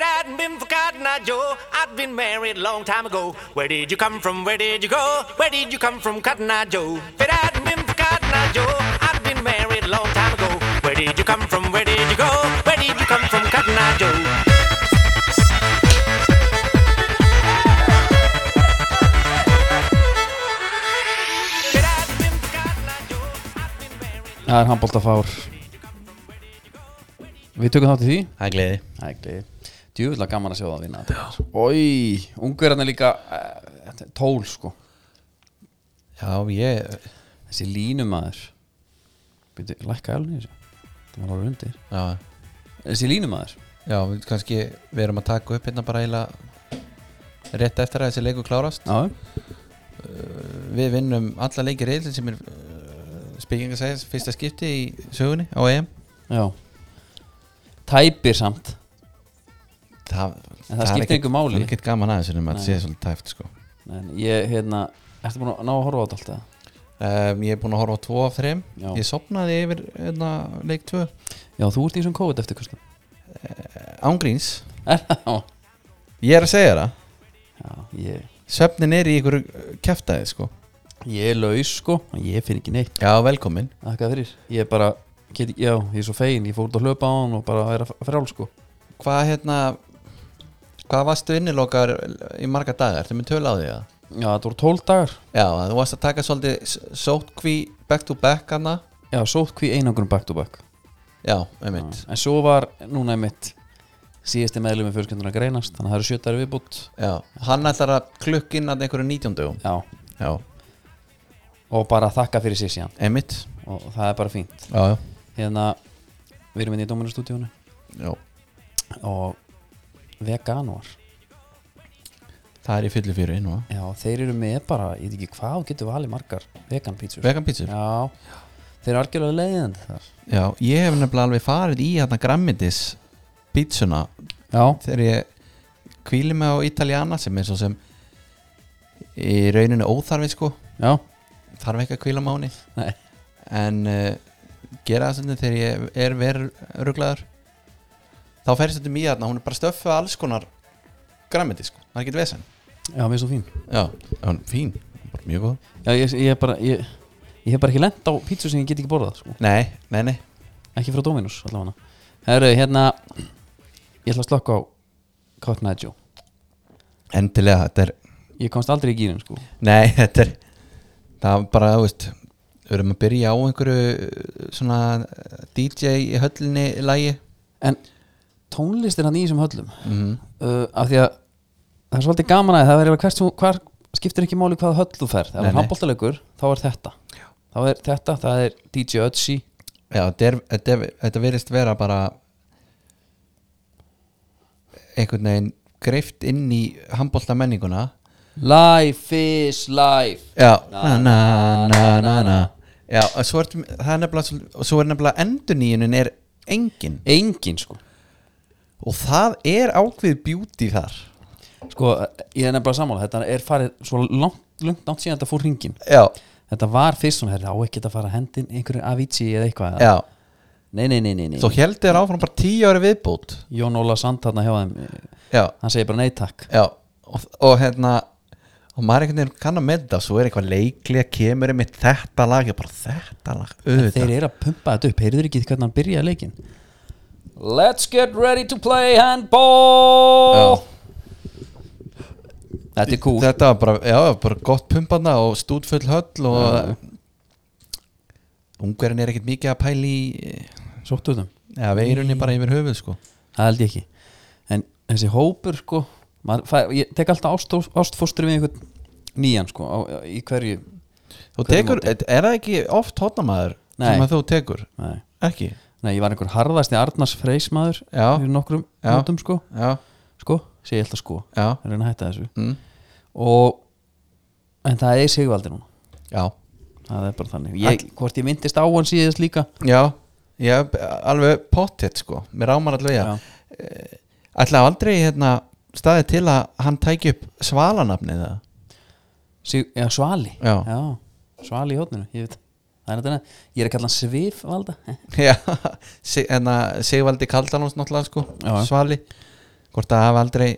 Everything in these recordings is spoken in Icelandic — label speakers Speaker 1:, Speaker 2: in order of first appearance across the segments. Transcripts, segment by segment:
Speaker 1: hadn't been for Cotton Eye Joe, I'd been married long time ago. Where did you come from? Where did you go? Where did you come from, Cotton Eye Joe? If it hadn't been for Cotton Eye Joe, I'd been married long time ago. Where did you come from? Where did you go? Where did you come from, Cotton Eye Joe? If it hadn't been for Cotton Eye Joe, I'd been married
Speaker 2: Það er handbóltafár Við tökum þátt í því
Speaker 3: Það er gleði
Speaker 2: Ægli Djúvilega gaman að sjá það að vinna þetta Ói, ungverðan er hérna líka uh, tól sko
Speaker 3: Já, ég
Speaker 2: Þessi línumæður Býtu, lækka alveg þessu Það var alveg undir
Speaker 3: Já,
Speaker 2: Þessi línumæður
Speaker 3: já við, kannski við erum að taka upp hérna bara eiginlega rétt eftir að þessi leikur klárast
Speaker 2: Já,
Speaker 3: Við vinnum alla leikir reyðlinn sem er uh, speaking að segja fyrsta skipti í sögunni á EM
Speaker 2: já Tæpir samt
Speaker 3: Það,
Speaker 2: En það skiptir
Speaker 3: ekkert-
Speaker 2: engu máli.
Speaker 3: Það er ekkert gaman aðeins en
Speaker 2: Nei.
Speaker 3: maður sé svolítið tæft sko
Speaker 2: En ég, hérna Ertu búin að ná að horfa á þetta alltaf?
Speaker 3: um, Ég er búin að horfa á 2 af 3
Speaker 2: Já.
Speaker 3: Ég sopnaði yfir hérna, leik 2
Speaker 2: Já, þú ert í þessum COVID eftir kostum
Speaker 3: Ángríns
Speaker 2: Já,
Speaker 3: Ég er að segja það
Speaker 2: ég
Speaker 3: Svefnin er í ykkur kæftæði sko
Speaker 2: Ég er laus sko Ég finn ekki neitt
Speaker 3: Já, velkomin
Speaker 2: Þakka fyrir Ég er bara get, Já, ég er svo fegin Ég fór út að hlaupa á hann og bara er að frál sko
Speaker 3: Hvað hérna Hvað varstu innilokar í marga dagar? Ertu með tölu á því að?
Speaker 2: Já, þetta voru tól dagar
Speaker 3: Já, þú varst að taka svolítið s- sótkví back to back hana
Speaker 2: Já, sótt hví einangrun back to back
Speaker 3: Já, einmitt
Speaker 2: En svo var núna einmitt Síðasti meðlum með fjölskendurna greinast Þannig að það eru sjötari viðbútt
Speaker 3: Já, hann ætlar að klukk inn að einhverju 19 dögum
Speaker 2: Já,
Speaker 3: Já,
Speaker 2: og bara þakka fyrir sér síðan
Speaker 3: einmitt
Speaker 2: Og það er bara fínt
Speaker 3: Já, já,
Speaker 2: Hérna, við erum inn í Dóminustúdíónu
Speaker 3: já.
Speaker 2: Og veganuar
Speaker 3: Það er í fyllu fyrir inn og
Speaker 2: Já, þeir eru með bara, ég veit ekki hvað þú Getur valið margar veganpítsur
Speaker 3: Vegan pítsur já.
Speaker 2: Já, þeir eru algjörlega leiðandi þar
Speaker 3: ég hef nefnilega alveg farið í hérna grammitis pítsuna
Speaker 2: Já,
Speaker 3: þegar ég kvíli mig á Italiana sem er svo sem í rauninu óþarfi sko
Speaker 2: já,
Speaker 3: þarf ekki að kvíla máni
Speaker 2: nei
Speaker 3: en uh, gera það stundum þegar ég er verið ruglaður þá fer stundum í þarna hún er bara stöffu af alls konar græmiti sko, það er ekki vesen
Speaker 2: Já, mér er svo fín
Speaker 3: já, hún, fín, bara mjög góð
Speaker 2: Já, ég, ég er bara, ég, ég hef bara ekki lent á pítsu sem ég get ekki borðað, sko
Speaker 3: nei, nei, nei,
Speaker 2: Ekki frá Dominus, allavega Herru, hérna Ég ætla að slökka á Cotton Eye Joe
Speaker 3: endilega þetta er,
Speaker 2: Ég komst aldrei í gýrin, sko
Speaker 3: nei, þetta er það var bara, þú veist við erum að byrja á einhverju eh, svona eh, DJ í höllinni lægi
Speaker 2: En tónlist er hann í þessum höllum
Speaker 3: mm.
Speaker 2: uh, Af því að það er svolítið gaman að það er hvert sem, hvar skiptir ekki máli hvað höll þú ferð Ef
Speaker 3: Nei,
Speaker 2: það er
Speaker 3: nei.
Speaker 2: handbóltaleikur, þá er þetta Já. Þá er þetta, það er DJ Ötzi
Speaker 3: Já, þetta er- þetta er- þetta verðist vera bara einhvern veginn greift inn í handbólta menninguna
Speaker 2: Life is life
Speaker 3: Já, na na na na na Já, og svo er, það er nefnilega svol- og svo er nefnilega endurníunin er engin
Speaker 2: Engin, sko
Speaker 3: og það er ákveð beauty þar
Speaker 2: Sko, ég er nefnilega sammála, þetta er farið svo langt, langt, langt síðan þetta fór hringin
Speaker 3: Já,
Speaker 2: Þetta var fyrst svona, herri, á ekki að fara að hendin einhverju Avicii eða eitthvað eða?
Speaker 3: já
Speaker 2: Nei, nei, nei, nei, nei.
Speaker 3: Svo heldur þér áfram bara tíu ári viðbútt
Speaker 2: Jón Óla Sand hérna hjá þeim eh,
Speaker 3: Já,
Speaker 2: Hann segir bara nei takk
Speaker 3: já og, og hérna og maður einhvern veginn kann að medda svo er eitthvað leiklega kemur einmitt þetta lag ég bara þetta lag
Speaker 2: Þeir eru að pumpa þetta upp, heyrður ekki hvernig hann byrjaði leikinn Let's get ready to play handball Þetta er cool
Speaker 3: Þetta var bara, já, bara gott pumpana og stúdfull höll og Ungverðin er ekkert mikið að pæli í
Speaker 2: Sóttu þeim,
Speaker 3: Já, veirunni bara yfir höfuð sko
Speaker 2: það held ég ekki En þessi hópur sko maður, fær, Ég tek alltaf ást, ástfóstri við einhvern nýjan sko á, á, Í hverju
Speaker 3: Þú
Speaker 2: hverju
Speaker 3: tekur,
Speaker 2: móti.
Speaker 3: er það ekki oft hotnamaður
Speaker 2: Nei.
Speaker 3: sem að þú tekur?
Speaker 2: Nei.
Speaker 3: Ekki?
Speaker 2: Nei, ég var einhver harðasti Arnars Freysmaður
Speaker 3: Já.
Speaker 2: Fyrir nokkrum
Speaker 3: Já.
Speaker 2: nótum sko
Speaker 3: Já,
Speaker 2: sko, segi ég alltaf sko
Speaker 3: já,
Speaker 2: að reyna að hætta þessu
Speaker 3: mm.
Speaker 2: og, en það er Sigvaldi núna
Speaker 3: já
Speaker 2: það er bara þannig, ég, hvort ég myndist á hann síðast líka
Speaker 3: Já, já, b- alveg pottet sko, mér rámar alveg
Speaker 2: Já.
Speaker 3: að Ætla aldrei hérna staðið til að hann tæki upp svalanafnið það
Speaker 2: Sig, já, Svali
Speaker 3: Já.
Speaker 2: Svali í hótninu, ég veit það er þetta, ég er að kalla hann Svifvalda
Speaker 3: Já, sig- hérna Sigvaldi Kaldanóns náttúrulega sko,
Speaker 2: Já, já.
Speaker 3: Svali hvort það hafa aldrei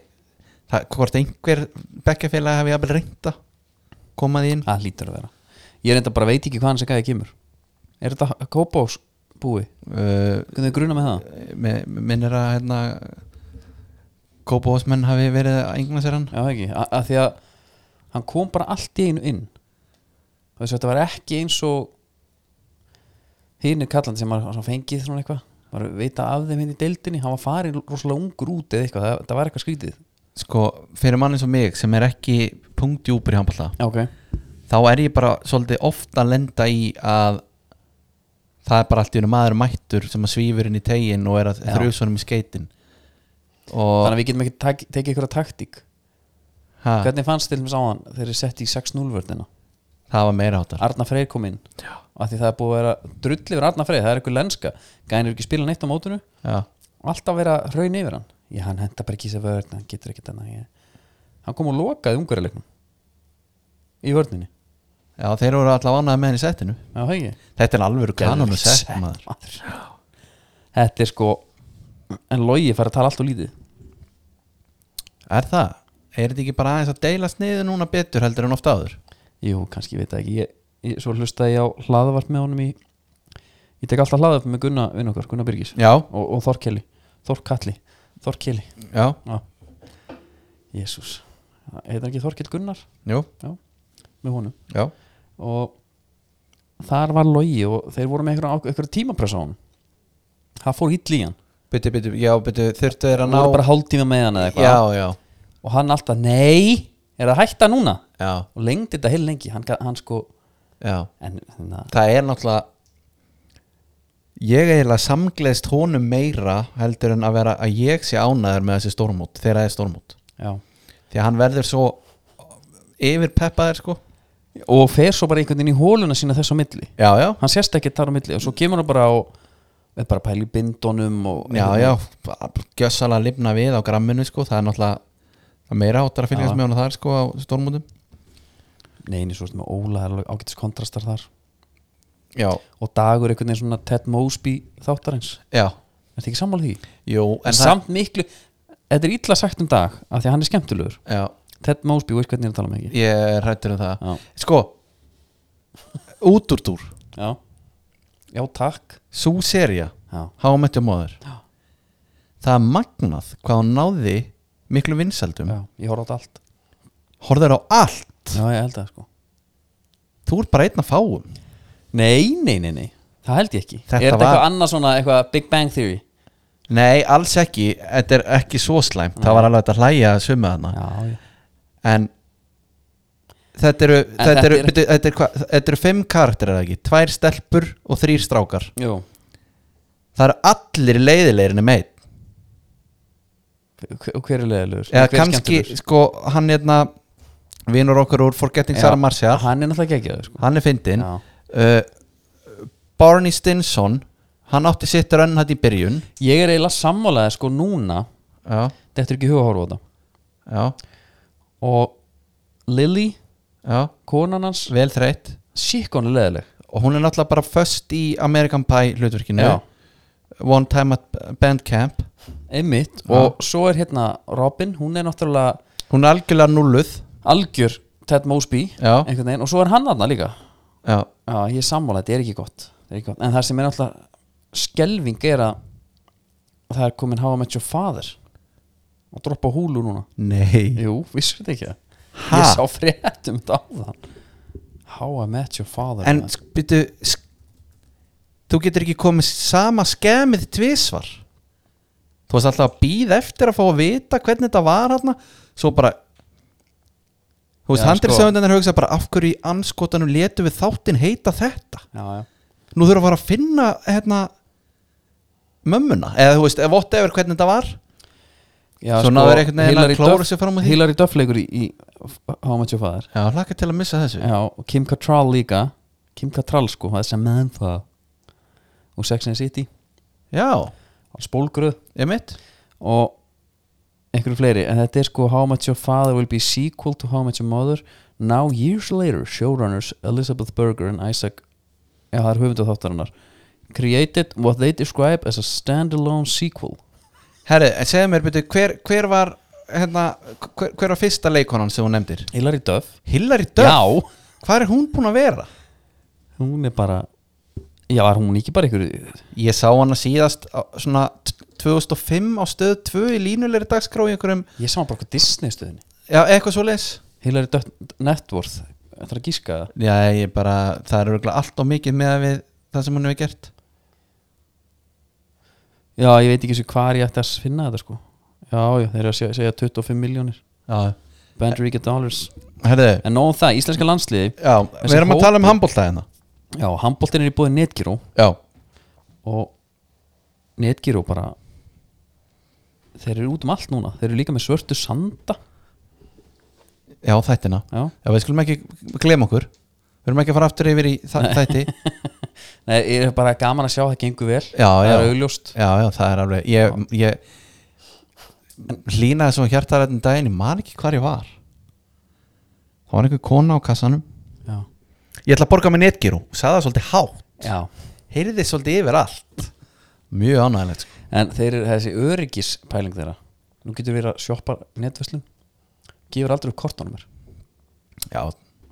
Speaker 3: það, hvort einhver bekkafélag hafi jafnvel reynda komaði inn
Speaker 2: það lítur að vera ég reynda bara veit ekki hvaðan þessi gæði kemur er þetta kópás búi
Speaker 3: uh,
Speaker 2: hvernig þið gruna með það
Speaker 3: með- minnir að hérna Kópavósmenn hafi verið að engna sér hann
Speaker 2: já ekki A að því að hann kom bara allt í einu inn og þess að þetta var ekki eins og hinn er kallandi sem var var fengið svona eitthvað var að vita af þeim hinn í deildinni hann var farin rosalega ungur út eða eitthvað það, það var eitthvað skrítið
Speaker 3: sko, fyrir mann eins og mig sem er ekki punktjúpur í handballa
Speaker 2: já ok
Speaker 3: þá er ég bara svolítið ofta að lenda í að það er bara allt í unum maður mættur sem að svífur inn í tegin og er að
Speaker 2: Já.
Speaker 3: þrjus honum í skeitin og
Speaker 2: þannig að við getum ekki tak tekið ykkur taktík
Speaker 3: ha,
Speaker 2: hvernig fannst til þess á hann þegar þið setti í 6-0 vördina
Speaker 3: það var meira hátar
Speaker 2: Arna Freyr kom inn af því það er búið að vera drull yfir Arna Freyr það er eitthvað lenska, gænir ekki spila neitt á mótinu
Speaker 3: já,
Speaker 2: og alltaf vera raun yfir hann já, hann henda bara ekki í sér vörn, hann getur ekki þannig ég... hann kom og lokaði ungarilegnum í vörninni
Speaker 3: já, þeir voru allavega ánæði með henni í settinu
Speaker 2: já, það ekki
Speaker 3: þetta er alveg kanonu
Speaker 2: Geðveikt
Speaker 3: sett maður
Speaker 2: maður. þetta er sko en logi fær að tala allt og lítið
Speaker 3: er það? er þetta ekki bara aðeins að deila sniðu núna betur heldur en ofta áður?
Speaker 2: jú, kannski ég veit það ekki ég, ég, svo hlustaði ég á hlaðavart með honum í ég tek alltaf hlaðavart með Gunna vinn okkar, Gunna Byrgis
Speaker 3: já,
Speaker 2: og, og Þorkelli, Þorkalli Þorkelli,
Speaker 3: já,
Speaker 2: jésús heitir hann ekki Þorkell Gunnar
Speaker 3: jú,
Speaker 2: með honum
Speaker 3: já
Speaker 2: og þar var logi og þeir voru með einhverja einhver tímapressa á hann það fór hill í hann
Speaker 3: byttu, byttu, já, byttu, þurftu þeir að
Speaker 2: hann
Speaker 3: ná
Speaker 2: voru bara hálftíma með hann eða
Speaker 3: já,
Speaker 2: eitthvað
Speaker 3: já,
Speaker 2: og hann alltaf, nei, er það hætta núna
Speaker 3: já,
Speaker 2: og lengdi þetta heil lengi hann, ga- hann sko,
Speaker 3: já
Speaker 2: en hérna,
Speaker 3: það er náttúrulega ég eiginlega samgleðst honum meira heldur en að vera að ég sé ánæður með þessi stórmót þegar það er stórmót
Speaker 2: já
Speaker 3: því að hann verður svo yfir peppaðir sko
Speaker 2: og fer svo bara einhvern veginn í hóluna sína þess á milli
Speaker 3: já já,
Speaker 2: hann sérst ekki þar á milli og svo kemur hann bara og er bara að pæla í bindunum og
Speaker 3: já já gjössalega lifna við á gramminu sko það er náttúrulega það er meira áttar að
Speaker 2: Já.
Speaker 3: fylgjast með honum þar sko á stórmótum
Speaker 2: neini svo veist með Óla, það er alveg ágætis kontrastar þar
Speaker 3: já,
Speaker 2: og Dagur einhvern veginn svona Ted Mosby þáttarins,
Speaker 3: já,
Speaker 2: er þetta ekki sammála því?
Speaker 3: jú en,
Speaker 2: en samt miklu þetta er illa sagt um dag af því að hann er skemmtulegur
Speaker 3: það, já,
Speaker 2: Ted Mosby, veist hvernig ég er að tala um ekki
Speaker 3: ég er hættur um það
Speaker 2: já,
Speaker 3: sko útúrtúr,
Speaker 2: já, já takk
Speaker 3: sú seria
Speaker 2: já,
Speaker 3: Hámettjum móður
Speaker 2: Já.
Speaker 3: Það er magnað hvað hún náði miklu vinsældum
Speaker 2: já, ég horf á þetta allt
Speaker 3: Horður á allt
Speaker 2: já, ég held það sko
Speaker 3: Þú ert bara einn að fáum
Speaker 2: nei, nei, nei, nei, það held ég ekki er þetta
Speaker 3: Þetta var-
Speaker 2: eitthvað annað svona, eitthvað Big Bang Theory
Speaker 3: Nei, alls ekki, þetta er ekki svo slæmt Það var alveg hægt að hlæja að suma þarna
Speaker 2: já, já,
Speaker 3: En Þetta eru, þetta,
Speaker 2: þetta
Speaker 3: eru,
Speaker 2: er-
Speaker 3: byrju, þetta, eru, hva, þetta eru fimm karakterar eða ekki Tvær stelpur og þrýr strákar
Speaker 2: jú
Speaker 3: Það eru allir leiðilegir nema einn
Speaker 2: Hver- og hver er leiðilegur?
Speaker 3: Eða
Speaker 2: Hver er
Speaker 3: kannski,
Speaker 2: skemmtilegur?
Speaker 3: sko, hann hérna Vinur okkar úr Forgetting Sarah
Speaker 2: Já,
Speaker 3: Marshall
Speaker 2: hann er náttúrulega ekki sko.
Speaker 3: Hann er fyndinn
Speaker 2: Já.
Speaker 3: uh, Barney Stinson hann átti sitt rönn hætt í byrjun
Speaker 2: ég er eiginlega sammálaði sko núna
Speaker 3: já,
Speaker 2: þetta er ekki huga að horfa á þetta
Speaker 3: já,
Speaker 2: og Lily,
Speaker 3: já,
Speaker 2: konan hans
Speaker 3: vel þreytt
Speaker 2: sík hún er leiðileg
Speaker 3: og hún er náttúrulega bara föst í American Pie hlutverkinu
Speaker 2: Já.
Speaker 3: One Time at Bandcamp
Speaker 2: einmitt
Speaker 3: Já.
Speaker 2: og svo er hérna Robin, hún er náttúrulega
Speaker 3: hún er algjörlega nulluð
Speaker 2: algjör Ted Mosby
Speaker 3: Já.
Speaker 2: einhvern veginn og svo er hann aðna líka
Speaker 3: já,
Speaker 2: já, ég er sammála, þetta er ekki gott, þetta er ekki gott. en það sem er náttúrulega skelving er að það er komin hafa með your father og droppa húlu núna
Speaker 3: nei
Speaker 2: jú, vissur þetta ekki
Speaker 3: Ha?
Speaker 2: ég sá fréttum þetta á þann How I Met Your Father
Speaker 3: en
Speaker 2: maður.
Speaker 3: sk- byrju sk- þú getur ekki komið sama skemið tvisvar þú varst alltaf að býða eftir að fá að vita hvernig þetta var hann svo bara þú veist,
Speaker 2: Já,
Speaker 3: handriðsöfundarnir sko. hugsa bara af hverju í anskotanum letum við þáttinn heita þetta
Speaker 2: já, já.
Speaker 3: nú þurfum við að fara að finna hérna mömmuna, eða þú veist, eða vott efur hvernig þetta var
Speaker 2: Já,
Speaker 3: Svo náður einhvern veginn að
Speaker 2: Hilary
Speaker 3: klóra
Speaker 2: Duff-
Speaker 3: sig fram úr því.
Speaker 2: Hilary Duff leikur í, í How I Met Your Father
Speaker 3: já, hlakka til að missa þessu
Speaker 2: Já, og Kim Cattrall líka Kim Cattrall sko, það er sem meðan það og Sex and the City
Speaker 3: já,
Speaker 2: og Spólgröð
Speaker 3: ég mitt
Speaker 2: og einhverju fleiri en þetta er sko How Much Your Father Will Be Sequel to How Much Your Mother Now Years Later Showrunners Elizabeth Berger and Isaac Já, það er höfundu þáttarinnar Created what they describe as a standalone sequel
Speaker 3: Herri, en segðu mér byrju, hver, hver var hérna, hver, hver var fyrsta leikonan sem hún nefndir?
Speaker 2: Hilary Duff
Speaker 3: Hillary Duff?
Speaker 2: Já,
Speaker 3: Hvað er hún búin að vera?
Speaker 2: hún er bara Já, var hún ekki bara ykkur
Speaker 3: Ég sá hana síðast á, svona t- 2005 á stöð 2 í línulegri dagskrá í einhverjum,
Speaker 2: Ég sá hann bara okkur Disney stöðinni
Speaker 3: já, eitthvað svo leis
Speaker 2: Hilary Duff Networth Það er að gíska það
Speaker 3: Já, ég bara, það er örgulega allt og mikið með við það sem hún hefur gert
Speaker 2: Já, ég veit ekki svo hvar ég ætti að finna þetta sko Já, já, þeir eru að segja- segja 25 miljónir
Speaker 3: Já,
Speaker 2: Bandriga dollars
Speaker 3: herri,
Speaker 2: En nóg um það, íslenska landsliði
Speaker 3: já, við
Speaker 2: Þessi
Speaker 3: erum að tala um
Speaker 2: hópur-
Speaker 3: handbólta hérna
Speaker 2: Já, handbóltin er í búið Netgyro
Speaker 3: Já,
Speaker 2: og Netgyro bara þeir eru út um allt núna þeir eru líka með svörtu sanda
Speaker 3: já, þættina
Speaker 2: Já.
Speaker 3: Já, við skulum ekki glem okkur Við erum ekki að fara aftur yfir í þa- þætti
Speaker 2: Nei, ég er bara gaman að sjá að það gengur vel
Speaker 3: Já,
Speaker 2: það
Speaker 3: já.
Speaker 2: er augljóst
Speaker 3: Já, já, það er alveg Ég, ég hlýnaði svo hjartarættin daginn Ég man ekki hvar ég var Það var einhver kona á kassanum
Speaker 2: já.
Speaker 3: Ég ætla að borga með netgíru Sæða svolítið hátt
Speaker 2: já,
Speaker 3: Heyrði svolítið yfir allt Mjög ánægilegt sko.
Speaker 2: en þeir eru þessi öryggispæling þeirra nú getur við að sjoppa netverslun gefur aldrei upp kortunumir
Speaker 3: Já,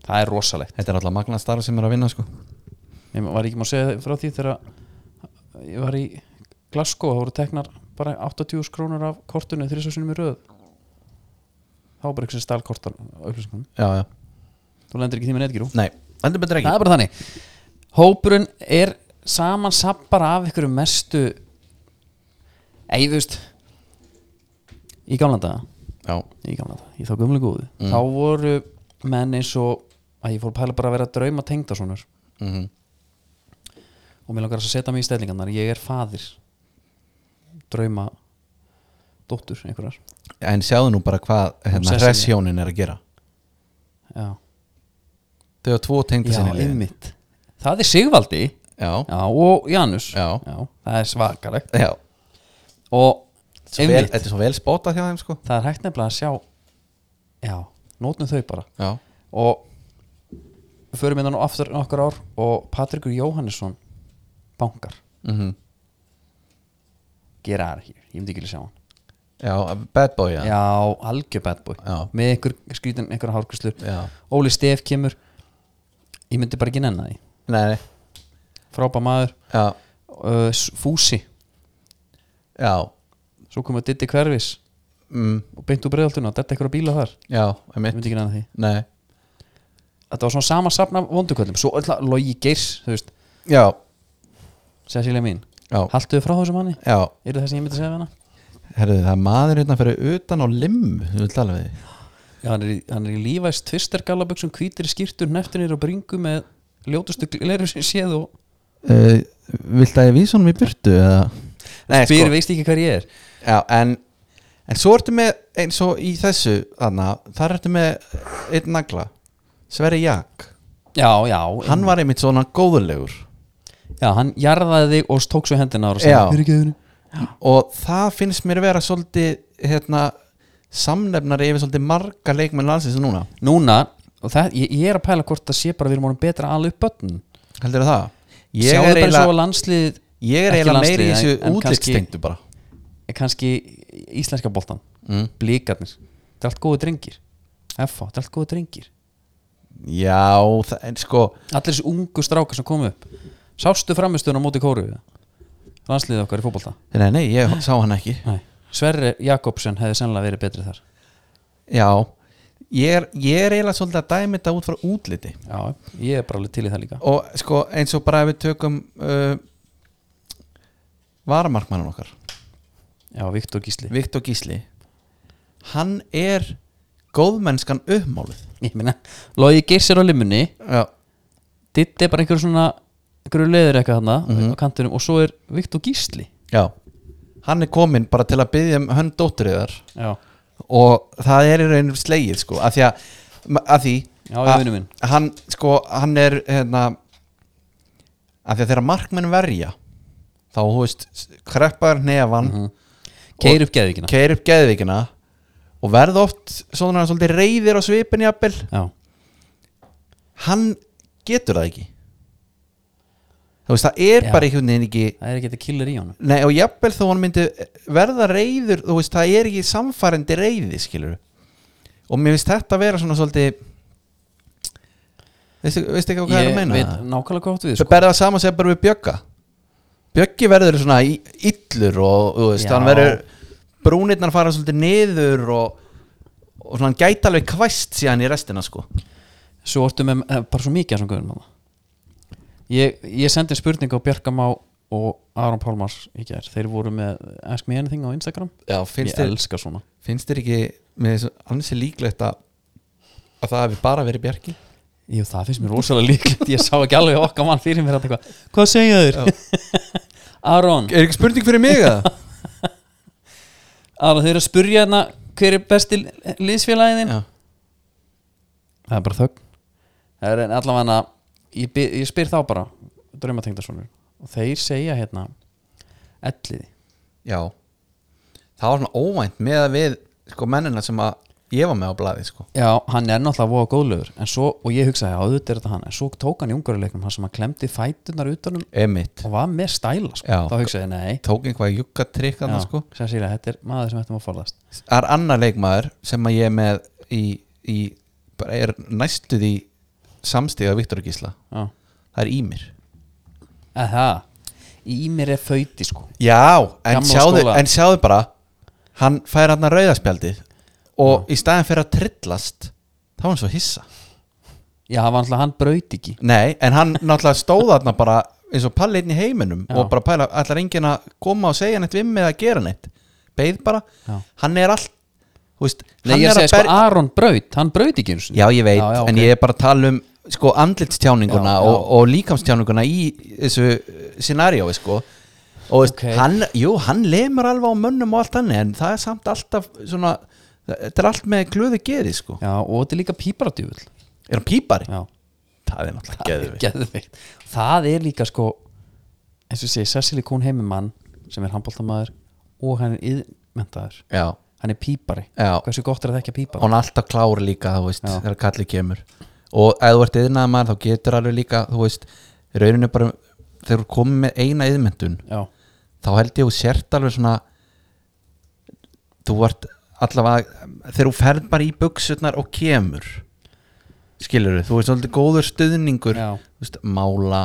Speaker 2: það er rosalegt
Speaker 3: þetta er alltaf magna starf sem er að vinna sko.
Speaker 2: ég var ekki má segja frá því þegar að ég var í Glasgow það voru teknar bara 80 krónur af kortunum þegar þessu sinni í röð þá var bara ykkur sem stál kortan upplýsingunum
Speaker 3: Já, já,
Speaker 2: þú lendir ekki í því með netgíru
Speaker 3: nei Endur betur ekki
Speaker 2: það er bara þannig hópurinn er saman sappar af ykkur mestu eifust í gamla daga
Speaker 3: Já,
Speaker 2: í gamla daga, í þá gömlu góðu þá voru menn eins og að ég fór að pæla bara að vera drauma tengdasonur
Speaker 3: mm
Speaker 2: og mér langar að setja mig í stellingarnar ég er faðir drauma dóttur einhverjar
Speaker 3: en sjáðu nú bara hvað hérna,
Speaker 2: Sesselja.
Speaker 3: Hressjónin er að gera
Speaker 2: já,
Speaker 3: Þau hafa tvo tengdu
Speaker 2: já
Speaker 3: sinni
Speaker 2: einmitt það er Sigvaldi
Speaker 3: Já,
Speaker 2: já, og Janus
Speaker 3: Já.
Speaker 2: það er svakalegt
Speaker 3: já
Speaker 2: og
Speaker 3: Svo vel- Þetta er svo vel spotað hjá þeim sko.
Speaker 2: það er hægt nefnilega að sjá já, nótnum þau bara
Speaker 3: Já,
Speaker 2: og við förum innan og aftur nokkur ár og Patrikur Jóhannesson bankar,
Speaker 3: mm
Speaker 2: gera það ekki ég myndi ekki vilja sjá hann
Speaker 3: já bad boy
Speaker 2: já, algjör bad boy
Speaker 3: Já.
Speaker 2: með einhver skrítin, einhver hárkvislu
Speaker 3: Já.
Speaker 2: Óli Stef kemur ég myndi bara ekki nenna því
Speaker 3: Nei, nei,
Speaker 2: frábær maður,
Speaker 3: já,
Speaker 2: uh, S- Fúsi
Speaker 3: já,
Speaker 2: svo komið Diddi Hverfis
Speaker 3: mm,
Speaker 2: og beint úr breyðaltuna, þetta eitthvað bíla þar
Speaker 3: já,
Speaker 2: ég
Speaker 3: einmitt,
Speaker 2: myndi ekki nenna því
Speaker 3: nei
Speaker 2: þetta var svona sama safna vonduköllum svo öll að logi geirs, þú veist
Speaker 3: Já,
Speaker 2: Cecilia mín,
Speaker 3: Já.
Speaker 2: haltuðu frá þessum manni
Speaker 3: já,
Speaker 2: eru það sem ég myndi segja við hana
Speaker 3: herðu, það er maður hérna fyrir utan á limmu, þú vil tala við þig
Speaker 2: Já, hann, er í, hann er í lífæs tvistergallaböksum hvítir skýrtur neftinir og bringu með ljótustu gleru sem séð og
Speaker 3: uh, Vilt að ég vísa honum í burtu eða Nei, sko.
Speaker 2: spyr veist ekki hver ég er
Speaker 3: Já, en, en svo ertu með eins og í þessu, þarna þar ertu með einn nagla Sverri Jak,
Speaker 2: Já, já,
Speaker 3: hann var einmitt svona góðulegur
Speaker 2: já, hann jarðaði þig og tók svo hendina ára og sagði,
Speaker 3: Já.
Speaker 2: fyrirgeðinu
Speaker 3: og það finnst mér vera svolítið, hérna samnefnari yfir svolítið marga leikmenn landsins núna
Speaker 2: Núna, og það, ég, ég er að pæla hvort það sé bara við erum orðin betra að ala upp börn
Speaker 3: Heldur það? Ég
Speaker 2: Sjáðu
Speaker 3: er
Speaker 2: bara
Speaker 3: eiginlega
Speaker 2: svo að landslið
Speaker 3: Ég er eiginlega meiri í þessu
Speaker 2: útlitstengt
Speaker 3: útlitstengdu bara
Speaker 2: kannski íslenska boltan
Speaker 3: Mm.
Speaker 2: blíkarnir, þetta er allt góðu drengir FH, þetta er allt góðu drengir
Speaker 3: Já, það, en sko
Speaker 2: allir þessi ungu strákar sem komu upp sástu framistöðun á móti kóru landsliðið okkar í fótbolta
Speaker 3: Nei, nei, ég sá hann ekki
Speaker 2: Nei. Sverri Jakobsen hefði sennilega verið betri þar
Speaker 3: Já, ég er, ég er eiginlega svolítið að dæmi þetta út frá útliti
Speaker 2: já, ég er bara alveg til í það líka
Speaker 3: Og sko, eins og bara ef við tökum uh, Varamarkmannum okkar
Speaker 2: já, Viktor Gísli
Speaker 3: Viktor Gísli Hann er góðmennskan uppmáluð
Speaker 2: ég meina, Logi Geysir á limunni
Speaker 3: Já,
Speaker 2: Ditt er bara einhver svona einhverju leður eitthvað þarna
Speaker 3: Mhm.
Speaker 2: á kantinum og svo er Viktor Gísli
Speaker 3: já Hann er kominn bara til að byggja um hönd dóttriðar
Speaker 2: já,
Speaker 3: og það er í raunum slegið sko, af því að, að því
Speaker 2: Já, ég vinur minn.
Speaker 3: að hann sko, hann er hérna, af því að þegar markmenn verja þá, þú veist, kreppar nefan
Speaker 2: Mhm,
Speaker 3: mm
Speaker 2: keir upp geðvíkina
Speaker 3: keir upp geðvikina og verð oft svona svolítið reyðir á svipin jafnvel,
Speaker 2: já,
Speaker 3: hann getur það ekki þú veist það er
Speaker 2: Já.
Speaker 3: bara einhvern veginn ekki
Speaker 2: það er ekki þetta killer í honum
Speaker 3: Nei, og jafnvel þó hann myndi verða reyður, þú veist, það er ekki samfærandi reyði, skilur og mér finnst þetta vera svona svolítið veistu, veistu ekki hvað ég, er að meina?
Speaker 2: veit nákvæmlega hvað áttu við sko.
Speaker 3: Þau berða það saman sem bara við Bjögga Bjöggi verður svona í- illur og, þú veist,
Speaker 2: Já.
Speaker 3: hann verður brúnirnar fara svolítið niður og, og svona hann gæti alveg kvæst síðan í restina, sko
Speaker 2: svo ortu með eh, bara svo mikið af þessum guðum þarna. ég, ég sendi spurningu á Bjarka Má og Aron Pálmars í gær þeir voru með Ask Me Anything á Instagram
Speaker 3: Já,
Speaker 2: ég
Speaker 3: finnst þér
Speaker 2: elska svona
Speaker 3: finnst þér ekki með þessu ansi líklegt að, að það hefur bara verið Björki?
Speaker 2: Jú, það finnst mér rosalega líklegt ég sá ekki alveg okkar mann fyrir mér þarna eitthvað. hvað segja þér? Aron,
Speaker 3: Er ekki spurning fyrir mig að
Speaker 2: Aron, þau eru að spurja hérna hver er besti liðsfélagiðin
Speaker 3: Já,
Speaker 2: það er bara þögn það er en allavega ég, bi- ég spyr þá bara draumatengdarsonur og þeir segja hérna elliði
Speaker 3: já Það var svona óvænt með að við sko mennina sem að ég var með á blaði sko
Speaker 2: Já, hann er náttúrulega voða góðlegur en svo, og ég hugsaði, já, auðvitað er þetta hann en svo tók hann í ungaruleiknum, hann sem hann klemdi fætunar utanum
Speaker 3: Emitt
Speaker 2: um og var með stæla sko.
Speaker 3: Já.
Speaker 2: þá hugsaði, ég, nei,
Speaker 3: Tók einhvað juggatrykk
Speaker 2: já,
Speaker 3: annars sko
Speaker 2: sem sýra, þetta er maður sem þetta má forðast
Speaker 3: Það er annar leikmaður sem að ég er með í, í bara er næstuð í samstíða Viktor og Gísla
Speaker 2: Já,
Speaker 3: Það er Ímir
Speaker 2: eða það í mér er föyti, sko
Speaker 3: Já, en
Speaker 2: Gamla
Speaker 3: sjáðu,
Speaker 2: skóla.
Speaker 3: en sjáðu bara hann fær hann að rauðaspjaldið og í staðin fyrir að trillast þá var hann svo hissa
Speaker 2: Já, það var náttúrulega, hann braut ekki
Speaker 3: Nei, en hann náttúrulega stóð þarna bara eins og palli einn í heiminum
Speaker 2: Já.
Speaker 3: og bara pæla, allar enginn að koma og segja neitt við mig að gera neitt, beigð bara
Speaker 2: Já.
Speaker 3: hann er allt þú veist,
Speaker 2: Nei,
Speaker 3: hann
Speaker 2: ég
Speaker 3: er
Speaker 2: segi,
Speaker 3: að
Speaker 2: sko,
Speaker 3: berja
Speaker 2: Aron braut, hann braut ekki einu sinni.
Speaker 3: Já, ég veit,
Speaker 2: já,
Speaker 3: en
Speaker 2: ok.
Speaker 3: ég er bara að tala um sko andlitstjáninguna
Speaker 2: Já, já.
Speaker 3: Og, og líkamstjáninguna í þessu scenaríói sko og veist,
Speaker 2: Ok.
Speaker 3: hann, jú, hann lemur alveg á mönnum og allt annir en það er samt alltaf svona, þetta er allt með glöðu geði sko,
Speaker 2: Já, og þetta er líka píparadjúvel
Speaker 3: er hann pípari?
Speaker 2: Já,
Speaker 3: Það er náttúrulega
Speaker 2: það er
Speaker 3: geðveikt.
Speaker 2: geðveikt Það er líka sko eins og segi, Cecily Kuhn heimimann sem er handbóltamaður og hann er yðmentaður
Speaker 3: Já,
Speaker 2: hann er pípari,
Speaker 3: Já.
Speaker 2: hversu gott er að þekka pípari
Speaker 3: og hann er alltaf klár líka þú veist,
Speaker 2: Já.
Speaker 3: þegar kallið kemur og ef þú ert yðnaðar maður þá getur alveg líka þú veist, rauninu bara þegar þú komið með eina yðmyndun
Speaker 2: já,
Speaker 3: þá held ég þú sért alveg svona þú vart allavega þegar þú ferð bara í buksutnar og kemur skilur þú, þú veist svolítið góður stuðningur
Speaker 2: Já.
Speaker 3: þú veist, mála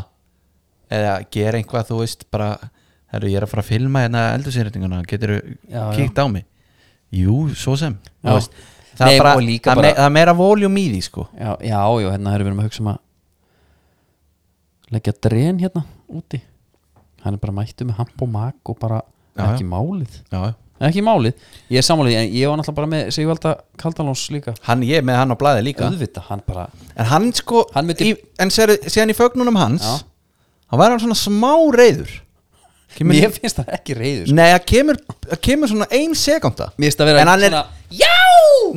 Speaker 3: eða gera einhvað þú veist bara herru, ég er að fara að filma hérna eldursyrirtinguna getur þú
Speaker 2: Já, já.
Speaker 3: kíkt á mig jú, svo sem
Speaker 2: Já.
Speaker 3: þú veist, það,
Speaker 2: Nei,
Speaker 3: er bara,
Speaker 2: og líka
Speaker 3: það,
Speaker 2: bara-
Speaker 3: me, það er meira voljum í því sko
Speaker 2: já, já, já hérna erum við erum að hugsa um að leggja dren hérna úti hann er bara mættu með hamp og mak og bara
Speaker 3: Já,
Speaker 2: ekki
Speaker 3: já.
Speaker 2: málið
Speaker 3: já, já
Speaker 2: ekki málið, ég er samanlega en ég var náttúrulega bara með Sigvalda Kaldalóns líka
Speaker 3: Hann, ég er með hann á blæði líka
Speaker 2: auðvitað, hann bara
Speaker 3: En hann sko,
Speaker 2: Hann myndi-
Speaker 3: í, en sér, séðan í fögnunum hans
Speaker 2: Já.
Speaker 3: Hann var hann svona smá reyður Kemur-
Speaker 2: mér finnst það ekki reyður sko.
Speaker 3: Nei, það kemur, það kemur svona ein sekunda
Speaker 2: mér finnst það vera
Speaker 3: En hann er-
Speaker 2: já,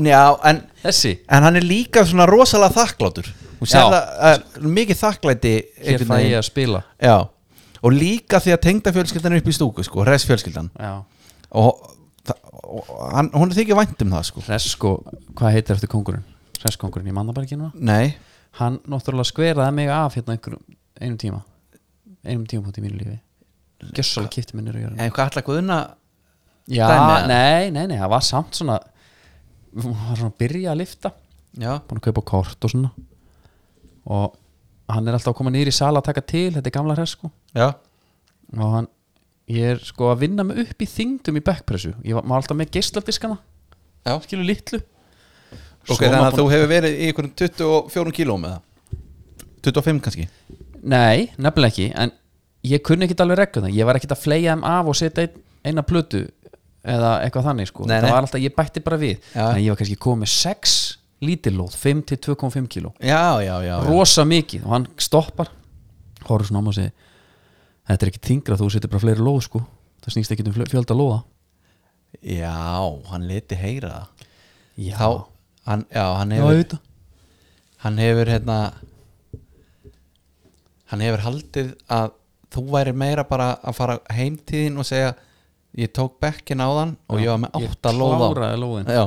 Speaker 3: Já, en,
Speaker 2: þessi
Speaker 3: en hann er líka svona rosalega þakklátur Hún sér
Speaker 2: Já.
Speaker 3: það, uh, mikið þakklæti
Speaker 2: hér
Speaker 3: einhvern
Speaker 2: fæ ég
Speaker 3: veginn.
Speaker 2: að spila
Speaker 3: Já, og líka því að tengda fjölskyldan upp í stúku, sko, res fjölskyldan
Speaker 2: já.
Speaker 3: Og, það, og hann, hún er þykir vænt um það, sko
Speaker 2: Resko, hvað heitir eftir kongurinn? Reskongurinn, ég manna bara ekki núna
Speaker 3: Nei,
Speaker 2: hann náttúrulega skveraði mig af hérna einhverjum, einum tíma einum tímapunkt í mínu lífi gjössalega kipti minnir að gjöra
Speaker 3: en hvað ætla Guðna
Speaker 2: já,
Speaker 3: dæmi eða?
Speaker 2: nei, nei, nei, það var samt svona hún var svona að byrja að lifta
Speaker 3: Já,
Speaker 2: búin að kaupa kort og svona og hann er alltaf að koma niður í sala að taka til, þetta er gamla hresko
Speaker 3: já,
Speaker 2: og hann, ég er sko að vinna mig upp í þingdum í backpressu ég var, maður alltaf með geisladiskana
Speaker 3: já
Speaker 2: skilur litlu
Speaker 3: Ok, þannig að þú hefur verið í einhverjum 24 kílóum eða 25 kannski
Speaker 2: Nei, nefnilega ekki En ég kunni ekkit alveg reglum það Ég var ekkit að fleia þeim af og setja ein, eina plötu Eða eitthvað þannig sko
Speaker 3: Nei,
Speaker 2: Það
Speaker 3: nei.
Speaker 2: var alltaf, ég bætti bara við
Speaker 3: Já.
Speaker 2: Þannig að ég var kannski komið með 6 lítilóð 5 til 2,5 kíló
Speaker 3: Já, já, já, já.
Speaker 2: Rosa mikið og hann stoppar Horfður svona á mig og segir Þetta er ekki þingra þú setur bara fleiri lóð sko Það snýst ekki um fl- fjölda lóða
Speaker 3: Já, hann leti heyra það
Speaker 2: Já,
Speaker 3: Þá, hann, já, hann
Speaker 2: já
Speaker 3: hefur
Speaker 2: auðvitað
Speaker 3: Hann hefur hérna Hann hefur haldið að þú væri meira bara að fara heimtíðin og segja ég tók bekkin á þann og ég var með átta lóð á Eh,
Speaker 2: Ég kláraði lóðin
Speaker 3: Já,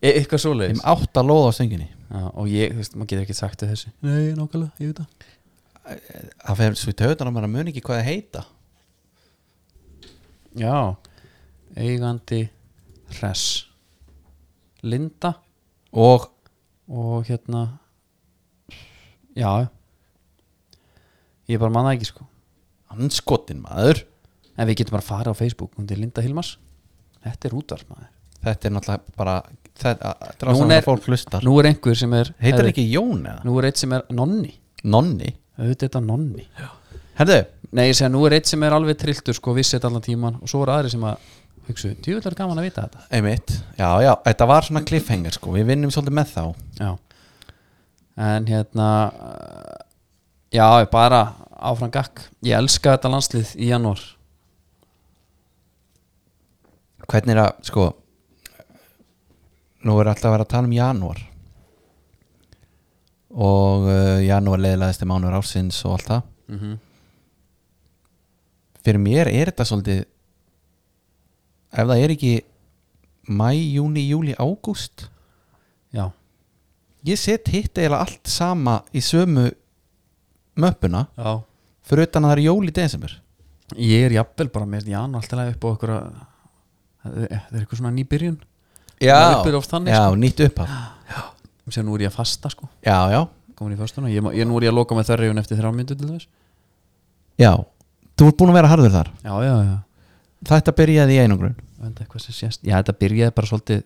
Speaker 2: E- Eitthvað
Speaker 3: ég
Speaker 2: svoleiðis
Speaker 3: með átta lóð á sönginni
Speaker 2: Já, Og ég, þú veist, maður getur ekki sagt við þessu Nei, nákvæmlega, ég veit það
Speaker 3: það fyrir svo í tautan að maður mun ekki hvað það heita
Speaker 2: Já Eigandi Hress Linda
Speaker 3: og
Speaker 2: og hérna Já Ég bara manna ekki sko
Speaker 3: anskotin maður
Speaker 2: En við getum bara að fara á Facebook Hún er Linda Hilmars Þetta er útvarp maður
Speaker 3: þetta er náttúrulega bara þetta að- þetta er
Speaker 2: Nú
Speaker 3: að
Speaker 2: er-
Speaker 3: er, fólk hlustar
Speaker 2: Nú er einhver sem er
Speaker 3: heitar
Speaker 2: Herri,
Speaker 3: hann ekki Jón eða?
Speaker 2: Nú er eitt sem er nonni
Speaker 3: Nonni
Speaker 2: Auðvitað er þetta nonni
Speaker 3: herðu
Speaker 2: Nei ég segja nú er eitt sem er alveg trilltur sko Vissi þetta allan tíman Og svo er aðri sem að Hugsu Djúvill er gaman að vita þetta
Speaker 3: einmitt já já þetta var svona cliffhanger sko við vinnum svolítið með þá
Speaker 2: Já En hérna eh, Já, bara áfram gakk Ég elska þetta landslið í janúar
Speaker 3: hvernig er að sko nú er alltaf að vera að tala um janúar og uh, janúar leðilegasti mánuður ársins og allt það
Speaker 2: Mhm.
Speaker 3: fyrir mér er þetta svolítið ef það er ekki mæ, júni, júli, ágúst
Speaker 2: Já,
Speaker 3: ég set hitt eiginlega allt sama í sömu möppuna
Speaker 2: já
Speaker 3: fyrir utan að það er jól í desember
Speaker 2: Ég er jafnvel bara með janúar alltaf upp á okkur að Það er það er eitthvað svona nýbyrjun Maður upplifir oft þannig,
Speaker 3: já,
Speaker 2: sko.
Speaker 3: nýtt upphaf
Speaker 2: sem nú er ég að fasta sko
Speaker 3: já, já,
Speaker 2: komin í fastuna, ég, má- ég nú er ég að loka með þörriðun eftir þrjá myndu til þess
Speaker 3: já þú ert búin að vera harður þar
Speaker 2: Já, já, já,
Speaker 3: þetta byrjaði í einangrun
Speaker 2: venda eitthvað sem sést Já, þetta byrjaði bara svolítið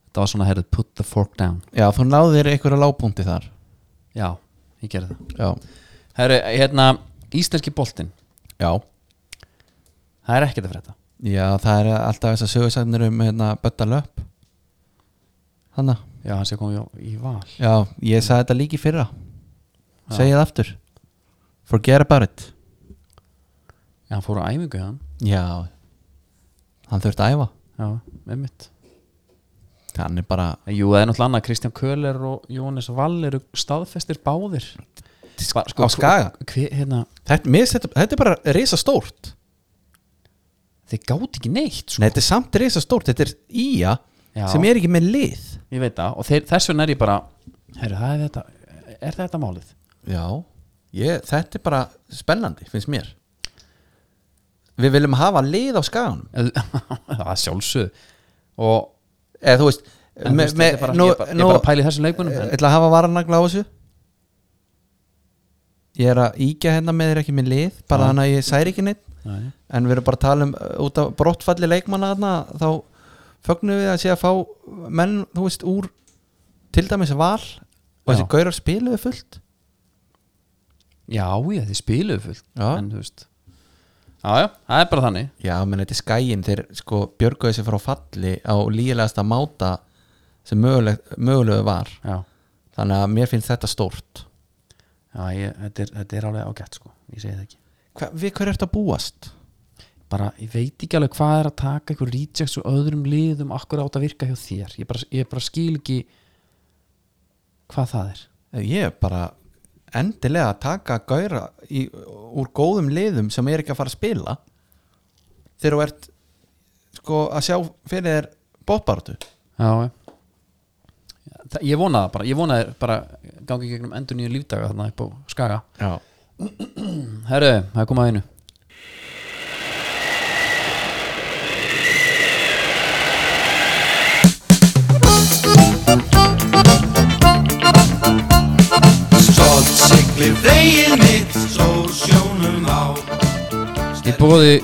Speaker 2: Þetta var svona, herrið, put the fork down
Speaker 3: Já, þú náðir einhverja lágbúndi þar
Speaker 2: Já, ég gerði það
Speaker 3: Já,
Speaker 2: Herru, hérna, íslenski boltinn
Speaker 3: já,
Speaker 2: Það er ekkert að frétta
Speaker 3: það er alltaf þess að sögursagnir um hérna Bötta Löpp Hanna,
Speaker 2: Já, hann sé komið í, í val
Speaker 3: já, ég sagði þetta líki fyrra Segið það aftur Forget about it
Speaker 2: Já, hann fór á æfingu í hann
Speaker 3: Já Hann þurfti að æfa
Speaker 2: Já, einmitt
Speaker 3: Hann er bara
Speaker 2: Jú, það er náttúrulega annað Kristján Köhler og Jónis Vall eru staðfestir báðir Hva,
Speaker 3: á Skaga.
Speaker 2: hve, hérna,
Speaker 3: þetta, mér, finnst þetta, þetta er bara risa stórt
Speaker 2: Þeir gáti ekki neitt sko.
Speaker 3: Nei, þetta er samt risa stórt Þetta er ía
Speaker 2: Já.
Speaker 3: sem er ekki með lið
Speaker 2: Ég veit það Og þeir, þess vegna er ég bara Herru, það er þetta Er þetta málið?
Speaker 3: Já, ég, þetta er bara spennandi, finnst mér Við viljum hafa lið á skaganum
Speaker 2: það er sjálfsög Og
Speaker 3: eða þú veist
Speaker 2: En þú veist, þetta er bara- ég er bara- ég er bara að pæla í þessum leikmönnum, en-
Speaker 3: Ég Eh, ætla að hafa varanagla á þessu Ég er að íkja hérna með þér ekki minn lið bara þannig að ég særi ekki neitt
Speaker 2: Nei.
Speaker 3: en við erum bara að tala um uh, út af brottfalli leikmanna þarna þá fögnum við að sé að fá menn þú veist úr til dæmis val og þessi
Speaker 2: Já.
Speaker 3: gaurar spiluðu fullt
Speaker 2: Já, já, þið spiluðu fullt
Speaker 3: Já.
Speaker 2: En þú veist Já, já, það er bara þannig
Speaker 3: Já, menn þetta er skæin þeir sko björguðu þessi frá falli á lígilegasta máta sem möguleg, mögulegu var
Speaker 2: Já,
Speaker 3: þannig að mér finnst þetta stórt
Speaker 2: já ég, þetta, er, þetta er alveg ágætt sko Ég segi það ekki
Speaker 3: Hva, Við hver ert að búast?
Speaker 2: bara, ég veit ekki alveg hvað er að taka eitthvað rejects og öðrum liðum akkur átt að virka hjá þér ég bara, ég bara skil ekki hvað það er
Speaker 3: Ég er bara endilega að taka gæra í, úr góðum liðum sem er ekki að fara að spila þegar þú ert sko að sjá fyrir þér bóttbaratu
Speaker 2: já, já. Það, ég vona það bara, ég vona þér bara gangi gegnum endur nýju lífdaga þarna upp á skaga
Speaker 3: Já
Speaker 2: herru, það er komað að einu
Speaker 4: Stolt siglir vegið mitt Svo sjónum á
Speaker 2: í bóði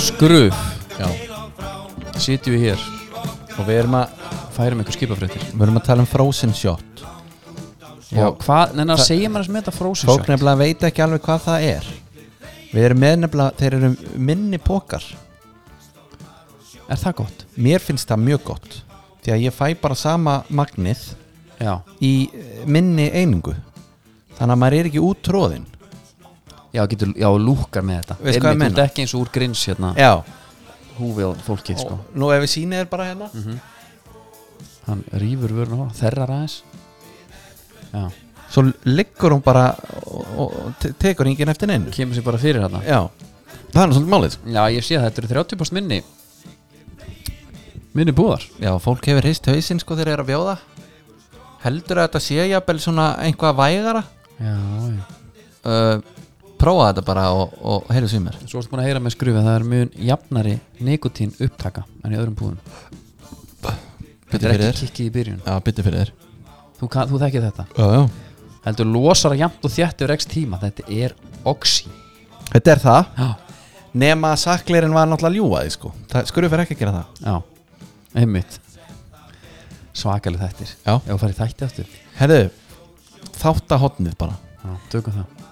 Speaker 2: skruf
Speaker 3: Já.
Speaker 2: sitjum við hér,
Speaker 3: og við erum að
Speaker 2: færum ykkur skipafréttir
Speaker 3: við erum að tala um Frozen Shot Já.
Speaker 2: og hvað, neina, segja mér að smeta frozen
Speaker 3: fólk
Speaker 2: shot
Speaker 3: nefnilega veit ekki alveg hvað það er við erum með nefnilega þeir eru minni pókar
Speaker 2: er það gott?
Speaker 3: mér finnst það mjög gott því að ég fæ bara sama magnið
Speaker 2: já,
Speaker 3: í eh, minni einingu þannig að maður er ekki út tróðin
Speaker 2: já, getur, já, lúkar með þetta
Speaker 3: Veist hvað
Speaker 2: Einmitt,
Speaker 3: ég
Speaker 2: þú
Speaker 3: meina?
Speaker 2: ert ekki eins og úr grins hérna,
Speaker 3: Já,
Speaker 2: húfið á fólkið sko.
Speaker 3: og nú ef við sýnið er bara hérna
Speaker 2: hann rýfur vörun og þerrar aðeins já,
Speaker 3: Svo liggur hún bara og, og, og te- tekur enginn eftir neinu
Speaker 2: kemur sér bara fyrir hérna
Speaker 3: Já, það er nú svolítið málið sko.
Speaker 2: já, ég sé að þetta eru 30% minni minni búðar
Speaker 3: Já, fólk hefur hist hausinn sko þegar það er að bjóða Heldur að þetta sé jafnvel svona einhvað vægara
Speaker 2: já, já
Speaker 3: uh, prófa þetta bara og, og heyrðu sem mér
Speaker 2: Svo ertu búin að heyra með skrufið að það er mun jafnari nikotín upptaka en í öðrum búðum Þetta
Speaker 3: Byttu
Speaker 2: er
Speaker 3: fyrir
Speaker 2: ekki
Speaker 3: þér
Speaker 2: kikki í byrjun
Speaker 3: Já, byttu fyrir þér
Speaker 2: Þú, kann- þú þekkið þetta
Speaker 3: já, já.
Speaker 2: Heldur losar að jafnt og þjætt yfir x tíma Þetta er oxy
Speaker 3: Þetta er það
Speaker 2: Já,
Speaker 3: Nema að sakleirinn var náttúrulega að ljúga því sko það, Skurðu fyrir ekki að gera það
Speaker 2: já, einmitt Svakaleg þættir
Speaker 3: Já.
Speaker 2: Ef þú farið þætti aftur
Speaker 3: Herðu, þáttahotnið bara
Speaker 2: Já, tökum það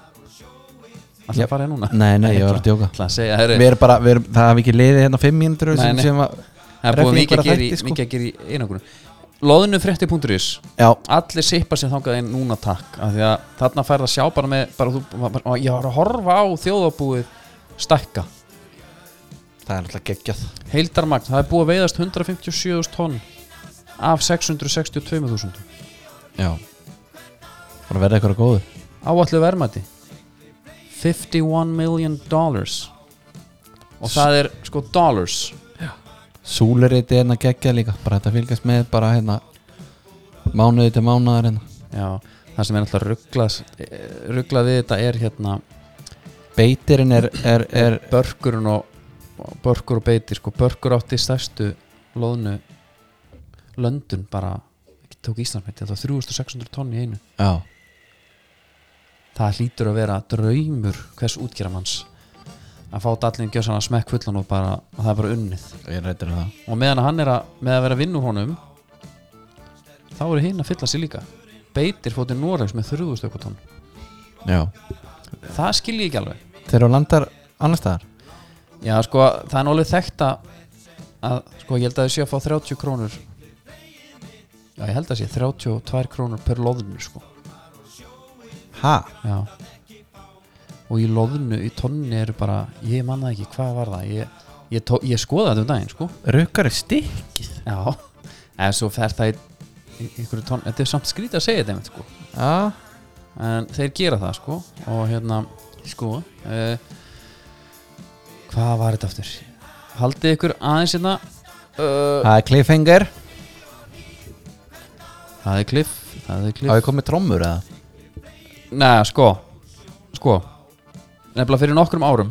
Speaker 2: Það
Speaker 3: Já.
Speaker 2: er bara núna
Speaker 3: Nei, nei, ég var að djóka.
Speaker 2: Það segja, herri,
Speaker 3: Við erum bara, við erum, það hafði ekki liðið hérna fimm mínútur
Speaker 2: Nei,
Speaker 3: sem,
Speaker 2: nei.
Speaker 3: sem var,
Speaker 2: það er búið
Speaker 3: Regnið
Speaker 2: mikið að,
Speaker 3: bara
Speaker 2: gera í,
Speaker 3: þætti, sko.
Speaker 2: mikið að gera í einangrun Lóðnufrétti.is
Speaker 3: Já,
Speaker 2: Allir sippa sér þangað inn núna takk af því að þarna færð að sjá bara með bara, þú, bara, bara, Ég var að horfa á þjóðabúið stækka
Speaker 3: það er náttúrulega geggjað
Speaker 2: Heildarmagn, það er búið að veiðast 157.000 tonn af 662.000
Speaker 3: Já Bara verða eitthvað góður
Speaker 2: áallu verðmæti 51 million dollars og það er sko dollars
Speaker 3: Súluriti hérna geggjað líka Bara þetta fylgjast með bara hérna Mánuði til mánuðar hérna
Speaker 2: Já, það sem er alltaf rugglað rugglað við þetta er hérna
Speaker 3: Beitirinn er, er, er
Speaker 2: börkurinn og og börkur og beiti sko, börkur átti stærstu loðnu löndun bara, ekki tók Íslandsmeti þetta var 3600 tonn í einu
Speaker 3: Já,
Speaker 2: það hlýtur að vera draumur hvers útgerðamanns að fá dallin gjössan að smekk fullan og bara að það er bara unnið
Speaker 3: ég er reytur um það
Speaker 2: og meðan að hann er að, með að vera vinn úr honum þá eru hinn að fylla sér líka beitir fótið Noregs með 3000 eitthvað tonn
Speaker 3: Já
Speaker 2: það skil ég ekki alveg
Speaker 3: Þegar þú landar annars staðar
Speaker 2: já sko það er nálega þekkt að að, sko ég held að þið sé að fá 30 krónur já ég held að sé 32 krónur per loðnu sko
Speaker 3: Ha?
Speaker 2: Já Og í loðnu, í tonni eru bara Ég manna ekki, hvað var það Ég, ég, tó, ég skoða þetta um daginn, sko
Speaker 3: Rökkar er stikkið
Speaker 2: Já, en svo fer það í, í einhverju tonn Þetta er samt skrítið að segja þetta einmitt, sko
Speaker 3: Já
Speaker 2: En þeir gera það, sko Og hérna, sko uh, Hvað var þetta aftur? Haldið ykkur aðeins hérna uh,
Speaker 3: Það er cliffhanger
Speaker 2: Það er kliff Það er kliff
Speaker 3: Hafið komið trommur eða?
Speaker 2: Nei, sko Sko Nefnilega fyrir nokkrum árum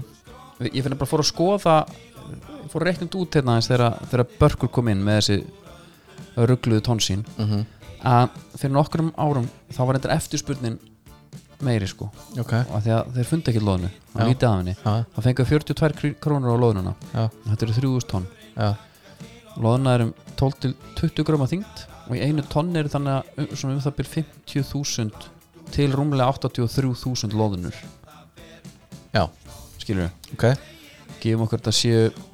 Speaker 2: Ég finn nefnilega að fór að skoða ég Fór reiknund út hérna aðeins þegar, þegar Börkur kom inn með þessi ruggluðu tón sín
Speaker 3: Mhm.
Speaker 2: að fyrir nokkrum árum þá var þetta eftirspurnin meiri sko
Speaker 3: Ok
Speaker 2: og af því að þeir fundi ekki loðnu
Speaker 3: Já.
Speaker 2: að lítið af henni
Speaker 3: Já,
Speaker 2: það fengu 42 kr- krónur á loðnuna
Speaker 3: já,
Speaker 2: þetta eru 3000 tonn
Speaker 3: já
Speaker 2: loðna er um 12 til 20 gröma þyngd og í einu tonn eru þannig að um, svona um það byrð 50.000 til rúmlega 83.000 loðnur
Speaker 3: Já,
Speaker 2: skilur við,
Speaker 3: ok
Speaker 2: gefum okkur þetta séu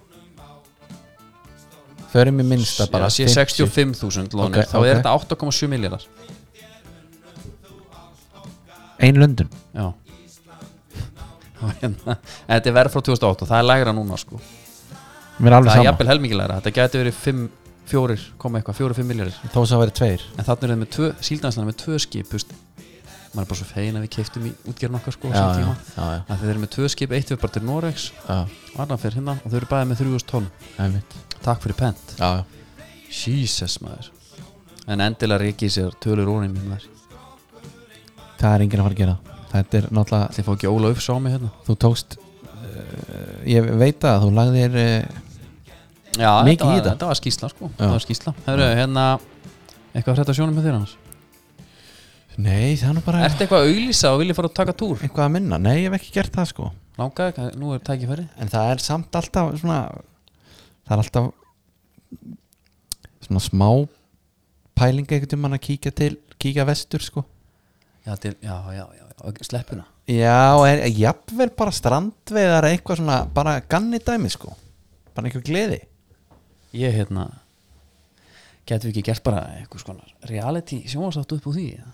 Speaker 3: Förum í minnsta bara
Speaker 2: já, séu 65.000 lónir,
Speaker 3: Ok,
Speaker 2: þá
Speaker 3: ok.
Speaker 2: er þetta 8,7 miljardar
Speaker 3: Ein löndun
Speaker 2: já Og hérna, en þetta er verð frá 2008 og það er lægra núna sko
Speaker 3: Mér er alveg
Speaker 2: það er
Speaker 3: sama
Speaker 2: jafnvel helmingilegra, þetta gæti verið 5, 4, koma eitthvað, 4, 5 miljardir
Speaker 3: Þó sem það væri tveir
Speaker 2: en þannig er það með tvö, síldanslan með tvö skip þú veist, maður er bara svo fegin að við keiftum í útgerðin okkar sko á
Speaker 3: Já,
Speaker 2: sínum
Speaker 3: já,
Speaker 2: tíma.
Speaker 3: já, já,
Speaker 2: að þeir eru með tvö skip, eitt fyrir bara til Noregs
Speaker 3: já,
Speaker 2: og annar fyrir hinna og þau eru bæðið með 3000 tonn
Speaker 3: einmitt
Speaker 2: takk fyrir pent
Speaker 3: Já, já
Speaker 2: Jesus maður en endilega reikið sér tölur ónum í maður
Speaker 3: Það er enginn að fara að gera Þetta er náttúrulega
Speaker 2: Þið fá ekki Óla upp sá mig hérna
Speaker 3: Þú tókst uh, Ég veit að þú lagðir uh,
Speaker 2: Já, þetta
Speaker 3: Mikið
Speaker 2: var,
Speaker 3: í þetta.
Speaker 2: þetta var skýsla sko
Speaker 3: Já.
Speaker 2: Þetta var skýsla Hörru, hérna Eitthvað frétt að sjónum með þér annars
Speaker 3: Nei, það er nú bara
Speaker 2: Ertu eitthvað að auglýsa og viljið fara að taka túr?
Speaker 3: Eitthvað að minna Nei, ég hef ekki gert það sko
Speaker 2: Langaði, hvað- nú er tækifæri
Speaker 3: En það er samt alltaf svona Það er alltaf Svona smá Pælinga einhvern tímann að kíkja til Kíkja vestur sko
Speaker 2: Já, til, já, já, já, hérna. já Sleppuna
Speaker 3: Já, en jafnvel bara strandveiðar eða Eitthvað svona bara ganni dæmi sko Bara einhver gleði
Speaker 2: Ég hérna Getum við ekki gert bara eitthvað skonar Reality sjónvarsáttu upp úr því eða?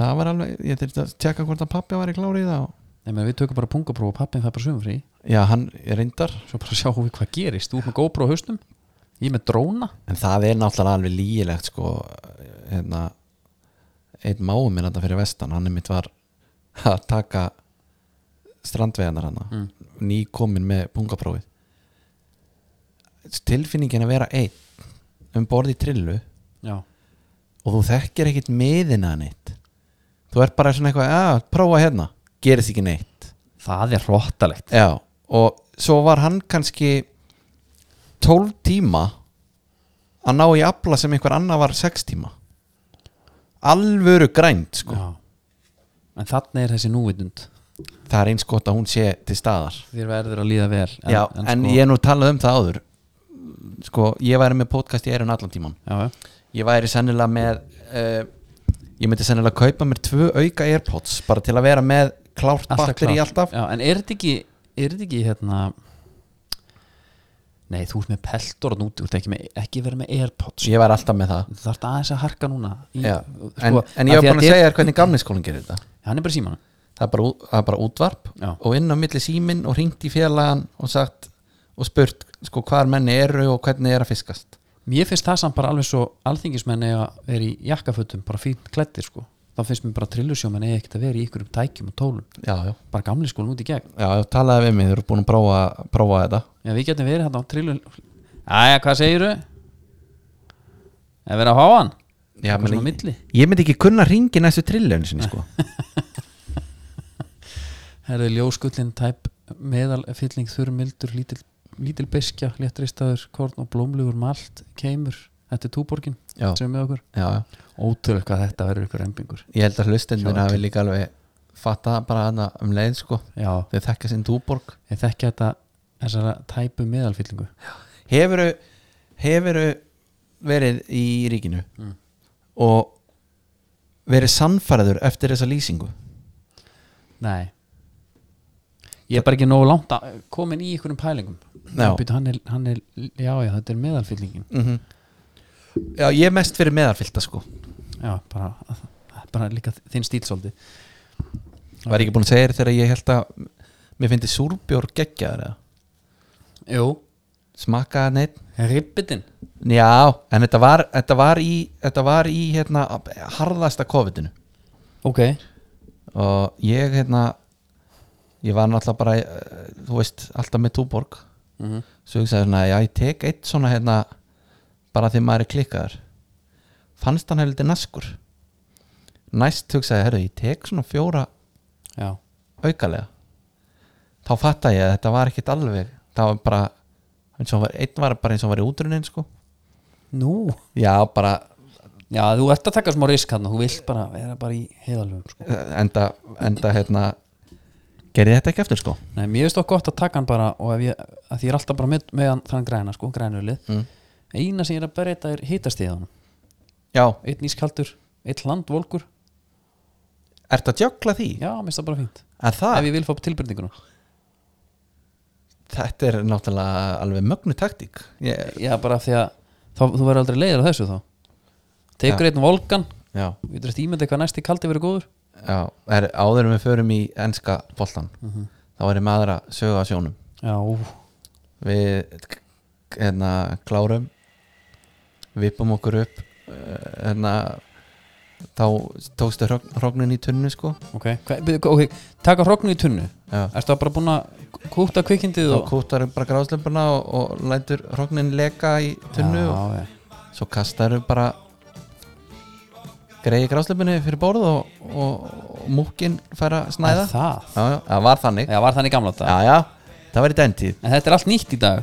Speaker 3: Það var alveg Ég þurfti að tjekka hvort að pappi var í klári í það og...
Speaker 2: Nei, menn við tökum bara pungapróf og pappin það bara sömfrí
Speaker 3: Já, hann er reyndar
Speaker 2: Svo bara sjáum við hvað gerist Þú ert með GoPro á hausnum Ég með dróna
Speaker 3: En það er náttúrulega alveg lýgilegt sko, hérna einn máum minn þetta fyrir vestan hann er mitt var að taka strandveðanar hann mm. nýkomin með pungaprófið tilfinningin að vera einn um borði í trillu
Speaker 2: Já
Speaker 3: og þú þekkir ekkit miðina neitt þú ert bara svona eitthvað, að prófa hérna gerist ekki neitt
Speaker 2: það er róttalegt
Speaker 3: Já, og svo var hann kannski 12 tíma að ná í afla sem einhver annar var 6 tíma alvöru grænt sko.
Speaker 2: en þannig er þessi núvitund
Speaker 3: það er eins gott að hún sé til staðar
Speaker 2: þér verður að líða vel en,
Speaker 3: Já, en,
Speaker 2: sko-
Speaker 3: ég er nú talað um það áður sko, ég væri með podcast í erun allan tíman
Speaker 2: já, já.
Speaker 3: ég væri sennilega með uh, ég myndi sennilega kaupa mér tvö auka Airpods bara til að vera með klárt
Speaker 2: Alltaf
Speaker 3: batteri
Speaker 2: klárt.
Speaker 3: alltaf
Speaker 2: já, en er þetta ekki, er þetta ekki hérna nei, þú ert með peltor og núti, þú ert ekki, með, ekki verið með airpods
Speaker 3: ég væri alltaf með það
Speaker 2: þú þarft aðeins að harka núna í,
Speaker 3: Já,
Speaker 2: sko,
Speaker 3: en,
Speaker 2: af
Speaker 3: en ég var
Speaker 2: því
Speaker 3: búin að
Speaker 2: þetta er-
Speaker 3: segja þér hvernig gamli skólinn gerir þetta
Speaker 2: hann er bara síman
Speaker 3: það er bara, ú- það er bara útvarp
Speaker 2: Já.
Speaker 3: og inn á milli síminn og hringt í félagan og sagt og spurt sko hvar menni eru og hvernig er að fiskast
Speaker 2: mér finnst það samt bara alveg svo alþingismenni að vera í jakkafötum, bara fínt klættir sko þá finnst mér bara trillusjómenn eða ekkert að vera í ykkur um tækjum og tólum
Speaker 3: já, já,
Speaker 2: bara gamli skólan út í gegn
Speaker 3: já, já talaði við mig, þeir eru búin að prófa, prófa þetta
Speaker 2: já, við getum verið hérna á trillun aðja, hvað segiru? er verið að fá hann?
Speaker 3: já,
Speaker 2: Eitthvað svona á
Speaker 3: meni,
Speaker 2: milli?
Speaker 3: ég myndi ekki kunna hringi næstu trillun sinni sko
Speaker 2: Herði ljóskullin tæp meðalfylling þurrmildur lítil, lítil beskja, léttristaður korn og blómlugur malt keimur Þetta er túborgin
Speaker 3: Já.
Speaker 2: sem er með okkur
Speaker 3: já, já
Speaker 2: Ótrúlega hvað þetta verður ykkur rembingur
Speaker 3: ég held að hlustendina
Speaker 2: Sjá.
Speaker 3: hafi líka alveg fatta bara hana um leið sko
Speaker 2: Já,
Speaker 3: þau þekka sinn túborg
Speaker 2: ég þekki þetta þessara tæpu meðalfyllingu
Speaker 3: hefuru, hefuru verið í ríkinu og verið sannfæraður eftir þessa lýsingu
Speaker 2: Nei Ég er bara ekki nógu langt að komin í ykkurum pælingum
Speaker 3: Já.
Speaker 2: Býtu, hann er, hann er, já, já, þetta er meðalfyllingin
Speaker 3: Já, ég er mest fyrir meðarfylta sko
Speaker 2: Já, bara, bara líka þinn stíl svolítið
Speaker 3: Var ég ekki búin að segja þér þegar ég held að Mér fyndi súrbjór geggjaður eða
Speaker 2: Jú,
Speaker 3: Smakaði neitt
Speaker 2: ribbitin
Speaker 3: Já, en þetta var, þetta var í Þetta var í hérna Harðasta COVID-inu
Speaker 2: Ok,
Speaker 3: Og ég hérna Ég var náttúrulega bara eh, Þú veist, alltaf með túborg Svo hugsaði svona, já ég tek eitt svona hérna Bara því maður er klikkaður Fannst hann hefði naskur Næst hugsaði, herru, ég tek svona fjóra
Speaker 2: já
Speaker 3: aukalega þá fatta ég að þetta var ekkit alveg það var bara eins og hann var, einn var bara eins og hann var í útrunin sko
Speaker 2: Nú
Speaker 3: já bara
Speaker 2: Já, þú ert að taka smá risk hann og þú vilt bara vera bara í heiðalöfum sko.
Speaker 3: eh, enda, enda hérna gerði þetta ekki eftir sko
Speaker 2: Nei, mér finnst það gott að taka hann bara og ef ég, að því ég er alltaf bara með, með hann þann græna, sko, grænulið mm. Eina sem ég er að breyta er hitastíðan
Speaker 3: já,
Speaker 2: Einn ískaldur, einn landvolkur
Speaker 3: ertu að djökla því?
Speaker 2: Já, mér finnst það bara fínt
Speaker 3: að það,
Speaker 2: Ef ég vil fá tilbyrninguna
Speaker 3: þetta er náttúrulega alveg mögnu taktík ég,
Speaker 2: Já, bara af því að þá, þú verður aldrei leiður á þessu þá Tekur einn volkan
Speaker 3: já,
Speaker 2: Við þurfum ímyndið hvað næsti kaldi verið góður
Speaker 3: já er, áður en við förum í enska boltan þá er ég með aðra sögu á sjónum
Speaker 2: Já, ú,
Speaker 3: við k- hérna klárum vippum okkur upp eh, hérna þá tókstu hrogn- hrognin í tunnu sko
Speaker 2: ok, Hva, byrju, ok Taka hrognu í tunnu
Speaker 3: Já.
Speaker 2: Ertu bara búin að kúta kvikindið
Speaker 3: þá
Speaker 2: og
Speaker 3: kúttar bara gráðslömpuna og, og lætur hrognin leka í tunnu
Speaker 2: Já,
Speaker 3: og
Speaker 2: já.
Speaker 3: svo kastar bara greiði gráðslömpinu fyrir borð og, og, og múkin fær að snæða
Speaker 2: Er það?
Speaker 3: Já, já, það var þannig já,
Speaker 2: Já, var þannig gamla þetta
Speaker 3: já, það var í den tíð
Speaker 2: En þetta er allt nýtt í dag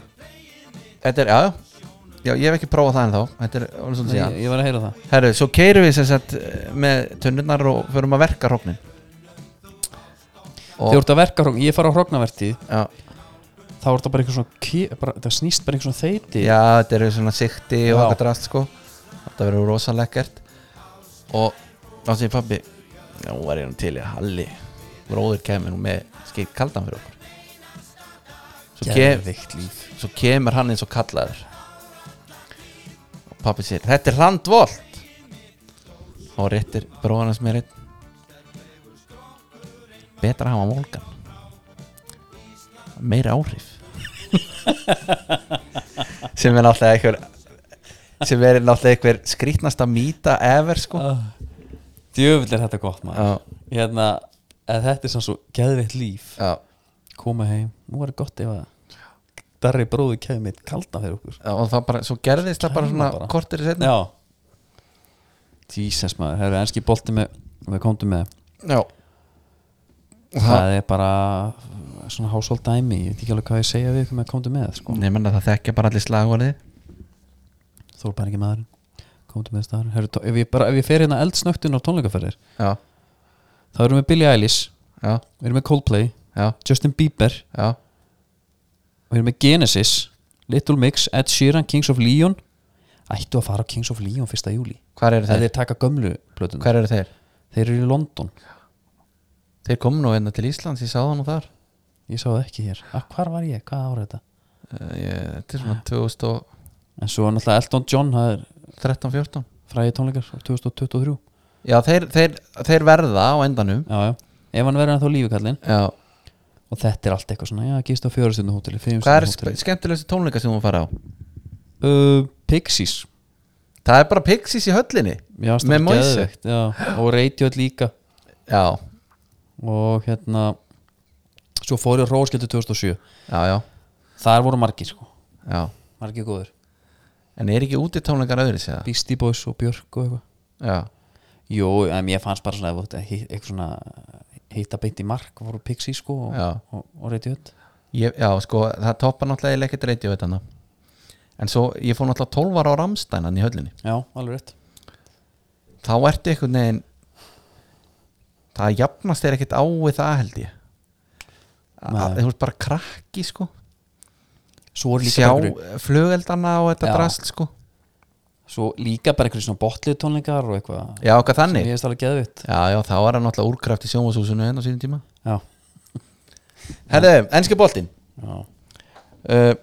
Speaker 3: þetta er, já, já, já, ég hef ekki prófað það en þá þetta er alveg svolítið
Speaker 2: ég,
Speaker 3: síðan
Speaker 2: ég var að heyra það
Speaker 3: Herru, svo keirum við sem sagt eh, með tunnurnar og förum að verka hróknin
Speaker 2: Þegar þú ert að verka hrogn, ég fara á hrognavertíð
Speaker 3: já,
Speaker 2: Þá er það bara einhver svona ké, bara, Það snýst bara einhver svona þeiti
Speaker 3: já, þetta eru svona sikti og
Speaker 2: Já.
Speaker 3: eitthvað drast sko Þetta verður rosalega gert Og þá segir pabbi Já, hún var ég nú til í að Halli Bróður kemur nú með skeitt kaldan fyrir okkur Svo, kem,
Speaker 2: Geðveikt líf
Speaker 3: svo kemur hann eins og kallaður Og pabbi sér Þetta er handvolt Og réttir bróðan hans með rétt Betra að hafa mólgan meira áhrif sem er náttúrulega einhver sem er náttúrulega einhver skrýtnasta mýta ever sko
Speaker 2: Ah, Djöfull er þetta gott maður
Speaker 3: Já.
Speaker 2: Hérna, að þetta er svona svo geðveikt líf
Speaker 3: já,
Speaker 2: Koma heim, nú var það gott ef að Darri bróði kefði mitt kalda fyrir okkur
Speaker 3: og það bara, svo gerðist það bara svona
Speaker 2: Bara.
Speaker 3: kortir í setna
Speaker 2: Já Jesus maður, það eru enski bolti með Við komdum með
Speaker 3: já.
Speaker 2: það er bara svona hásóld dæmi, ég veit ekki alveg hvað ég segja við ykkur með komdu með, sko,
Speaker 3: Nei, menn að það þekkja bara allir slagvarði
Speaker 2: þú er bara ekki maðurinn komdu með staðar, Heru, ef ég bara ef ég fer hérna eldsnögtun á tónleikaferðir
Speaker 3: Já,
Speaker 2: þá erum við Billie Eilish,
Speaker 3: já,
Speaker 2: við erum með Coldplay
Speaker 3: já,
Speaker 2: Justin Bieber,
Speaker 3: já
Speaker 2: við erum með Genesis Little Mix, Ed Sheeran, Kings of Leon ættu að fara á Kings of Leon 1. júli,
Speaker 3: Hvar eru
Speaker 2: það
Speaker 3: þeir?
Speaker 2: er taka gömlu plötun,
Speaker 3: Hvar eru þeir?
Speaker 2: þeir eru í London
Speaker 3: Þeir komu nú einna til Íslands, ég sá það nú þar
Speaker 2: ég sá það ekki hér, að, hvar var ég, hvað ára þetta
Speaker 3: Eh, ég- Þetta er svona 2013,
Speaker 2: en svo náttúrulega Elton John, það er
Speaker 3: 14
Speaker 2: fræði tónleikar 2023
Speaker 3: Já, þeir, þeir, þeir verða á endanum
Speaker 2: já, já. ef hann verður ennþá lífi kallinn
Speaker 3: Já,
Speaker 2: og þetta er allt eitthvað svona, já, gist á fjórastjöndu hóteli
Speaker 3: hvað er sp- skemmtilegustu tónleika sem hún fara á?
Speaker 2: uh, Pixies
Speaker 3: Það er bara Pixies í höllinni
Speaker 2: já,
Speaker 3: Með
Speaker 2: með
Speaker 3: Moise.
Speaker 2: Moise já, og Radiohead líka
Speaker 3: Já,
Speaker 2: og hérna svo fór ég Róskildu 2007
Speaker 3: já, já,
Speaker 2: þar voru margir sko,
Speaker 3: já
Speaker 2: margir góður
Speaker 3: En er ekki úti tónleikar öðru sér það?
Speaker 2: Beastie Boys og Björk og eitthvað
Speaker 3: Já,
Speaker 2: jú, en ég fannst bara svona ef þú átt að hit- eitthvað svona heita beint í mark voru Pixies sko og,
Speaker 3: Já.
Speaker 2: og, og Radiohead
Speaker 3: ég, já sko, það toppar náttúrulega eiginlega ekkert reyti á þetta En svo, ég fór náttúrulega 12 ára á Ramstænan í höllinni
Speaker 2: já, alveg rétt
Speaker 3: Þá ertu einhvern veginn Það jafnast þér ekkert á við það held ég
Speaker 2: Nei.
Speaker 3: Það er bara krakki sko
Speaker 2: svo voru líka
Speaker 3: Sjá
Speaker 2: bara einhverju-
Speaker 3: flugeldana og þetta
Speaker 2: Já.
Speaker 3: drast sko
Speaker 2: svo líka bara einhverjum svona botlið tónleikar og eitthvað
Speaker 3: Já, okkar
Speaker 2: sem
Speaker 3: þannig
Speaker 2: ég veist alveg geðvitt
Speaker 3: Já, já, þá var það náttúrulega úrkraft í sjónvasúsinu enn á sínum tíma
Speaker 2: já,
Speaker 3: Herðu, ennski boltinn
Speaker 2: já,
Speaker 3: uh,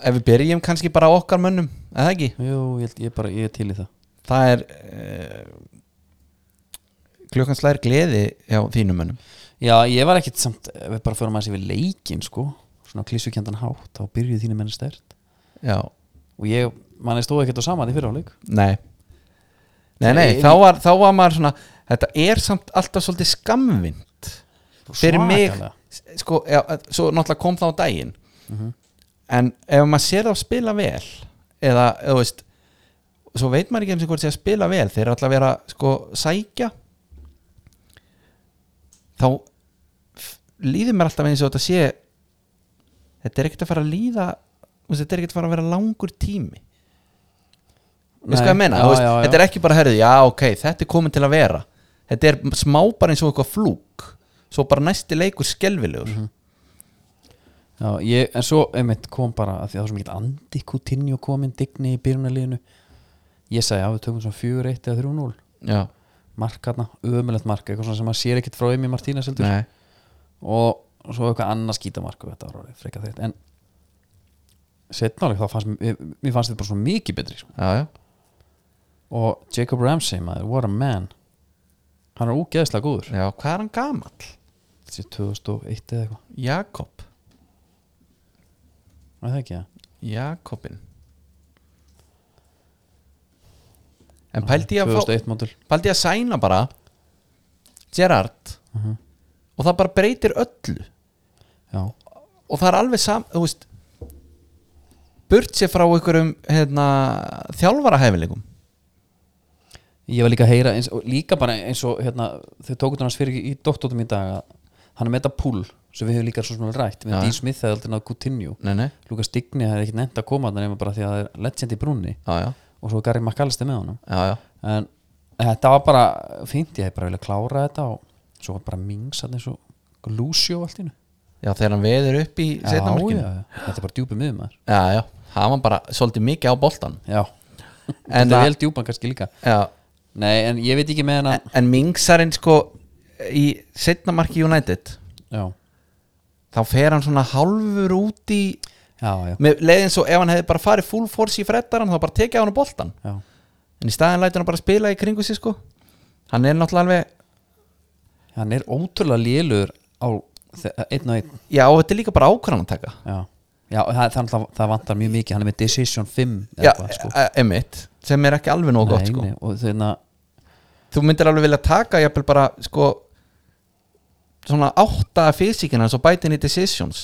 Speaker 3: Ef við byrjum kannski bara á okkar mönnum eða ekki,
Speaker 2: jú, ég, held- ég bara, ég er til í það
Speaker 3: það er uh, klukkan slær gleði hjá þínum mönnum
Speaker 2: já, ég var ekkit samt, ef við bara förum aðeins yfir leikin sko, svona klísukjöndan hátt þá byrjuði þínu menn stert
Speaker 3: Já,
Speaker 2: og ég, manni stóð ekkert á saman í fyrirháleik
Speaker 3: nei Nei, nei,
Speaker 2: Nei,
Speaker 3: þá var, þá var maður svona Þetta er samt alltaf svolítið skamvind Fyrir mig
Speaker 2: Svakalega.
Speaker 3: sko, já, Svo náttúrulega kom það á daginn En ef maður sér það spila vel Eða, þú veist Svo veit maður ekki eins og hvort sé að spila vel Þeir eru alltaf að vera, sko, sækja Þá f- Líður mér alltaf eins og þetta sé Þetta er ekkert að fara að líða þú veist, Þetta er ekkert að fara að vera langur tími Nei, sko ég meina, já, veist, þetta er ekki bara herðið, já ok, þetta er komin til að vera þetta er smá bara eins og eitthvað flúk svo bara næsti leikur skelvilegur
Speaker 2: já, ég, en svo, einmitt, kom bara að því að það var svo mikið andi Coutinho komin, digni í byrjunarliðinu ég sagði, já, við tökum svona 4-1 eða 3-0
Speaker 3: já,
Speaker 2: mark hana, ömulegt mark eitthvað svona sem maður sér ekkit frá Emi Martínez heldur
Speaker 3: nei,
Speaker 2: og svo eitthvað annað skítamark og þetta var orðið frekar þeitt en setnáleik þá fannst mér, mér fannst þetta bara svo mikið betri sko.
Speaker 3: já, já,
Speaker 2: og Jacob Ramsey maður, what a man hann er ógeðslega góður
Speaker 3: já hvað er hann gamall?
Speaker 2: þessi 2001 eða eitthvað,
Speaker 3: Jakob,
Speaker 2: var það ekki það?
Speaker 3: Jakobin en pældi ég að fá
Speaker 2: 2001 mótul
Speaker 3: pældi ég að sæna bara Gerard og það bara breytir öllu
Speaker 2: já,
Speaker 3: og það er alveg sam þú veist burt sér frá einhverjum hérna, þjálfara hæfileikum
Speaker 2: ég var líka að heyra eins, og líka bara eins og hérna, þau tókut hann fyrir í doktortum í dag að hann er með þetta púl sem við hefum líka svo svona rætt
Speaker 3: Já.
Speaker 2: með Dean Smith eða aldrei náðu Coutinho
Speaker 3: nei, nei,
Speaker 2: Lucas Digni hefði ekkert nefnt að koma þarna nema bara því að það er legend í brúnni
Speaker 3: já, já,
Speaker 2: og svo er Gary McAllister með honum
Speaker 3: já, já.
Speaker 2: en þetta var bara fínt, ég hef bara viljað klára þetta og svo var bara Mings hann eins og Lucio allt innu
Speaker 3: já þegar hann veður upp í setna markinu já.
Speaker 2: þetta er bara djúpi miðum maður
Speaker 3: já, já, það var bara svolítið mikið á boltan
Speaker 2: já, þetta
Speaker 3: En það-
Speaker 2: er vel djúpan kannski líka
Speaker 3: já,
Speaker 2: nei, en ég veit ekki með hennar
Speaker 3: en, en mingsarinn sko í setna marki United
Speaker 2: já,
Speaker 3: þá fer hann svona hálfur út í
Speaker 2: já, já,
Speaker 3: með leiðin svo ef hann hefði bara farið full force í frettaran þá bara tekið á hann á boltan
Speaker 2: já.
Speaker 3: en í staðin lætur hann bara spila í kringu sér sko hann er náttúrulega alveg
Speaker 2: hann er ótrúlega lélur á þe- eh, einn og einn
Speaker 3: já, og þetta er líka bara ákvarðan að taka
Speaker 2: já, já það, það, það, það vantar mjög mikið hann er með Decision 5 eða
Speaker 3: Já,
Speaker 2: eitthvað, sko.
Speaker 3: e- emitt sem er ekki alveg nóg gott
Speaker 2: Nei,
Speaker 3: sko.
Speaker 2: nei, og þeirna,
Speaker 3: þú myndir alveg vilja taka jafnvel bara sko svona átta físikina svo bæti inn í decisions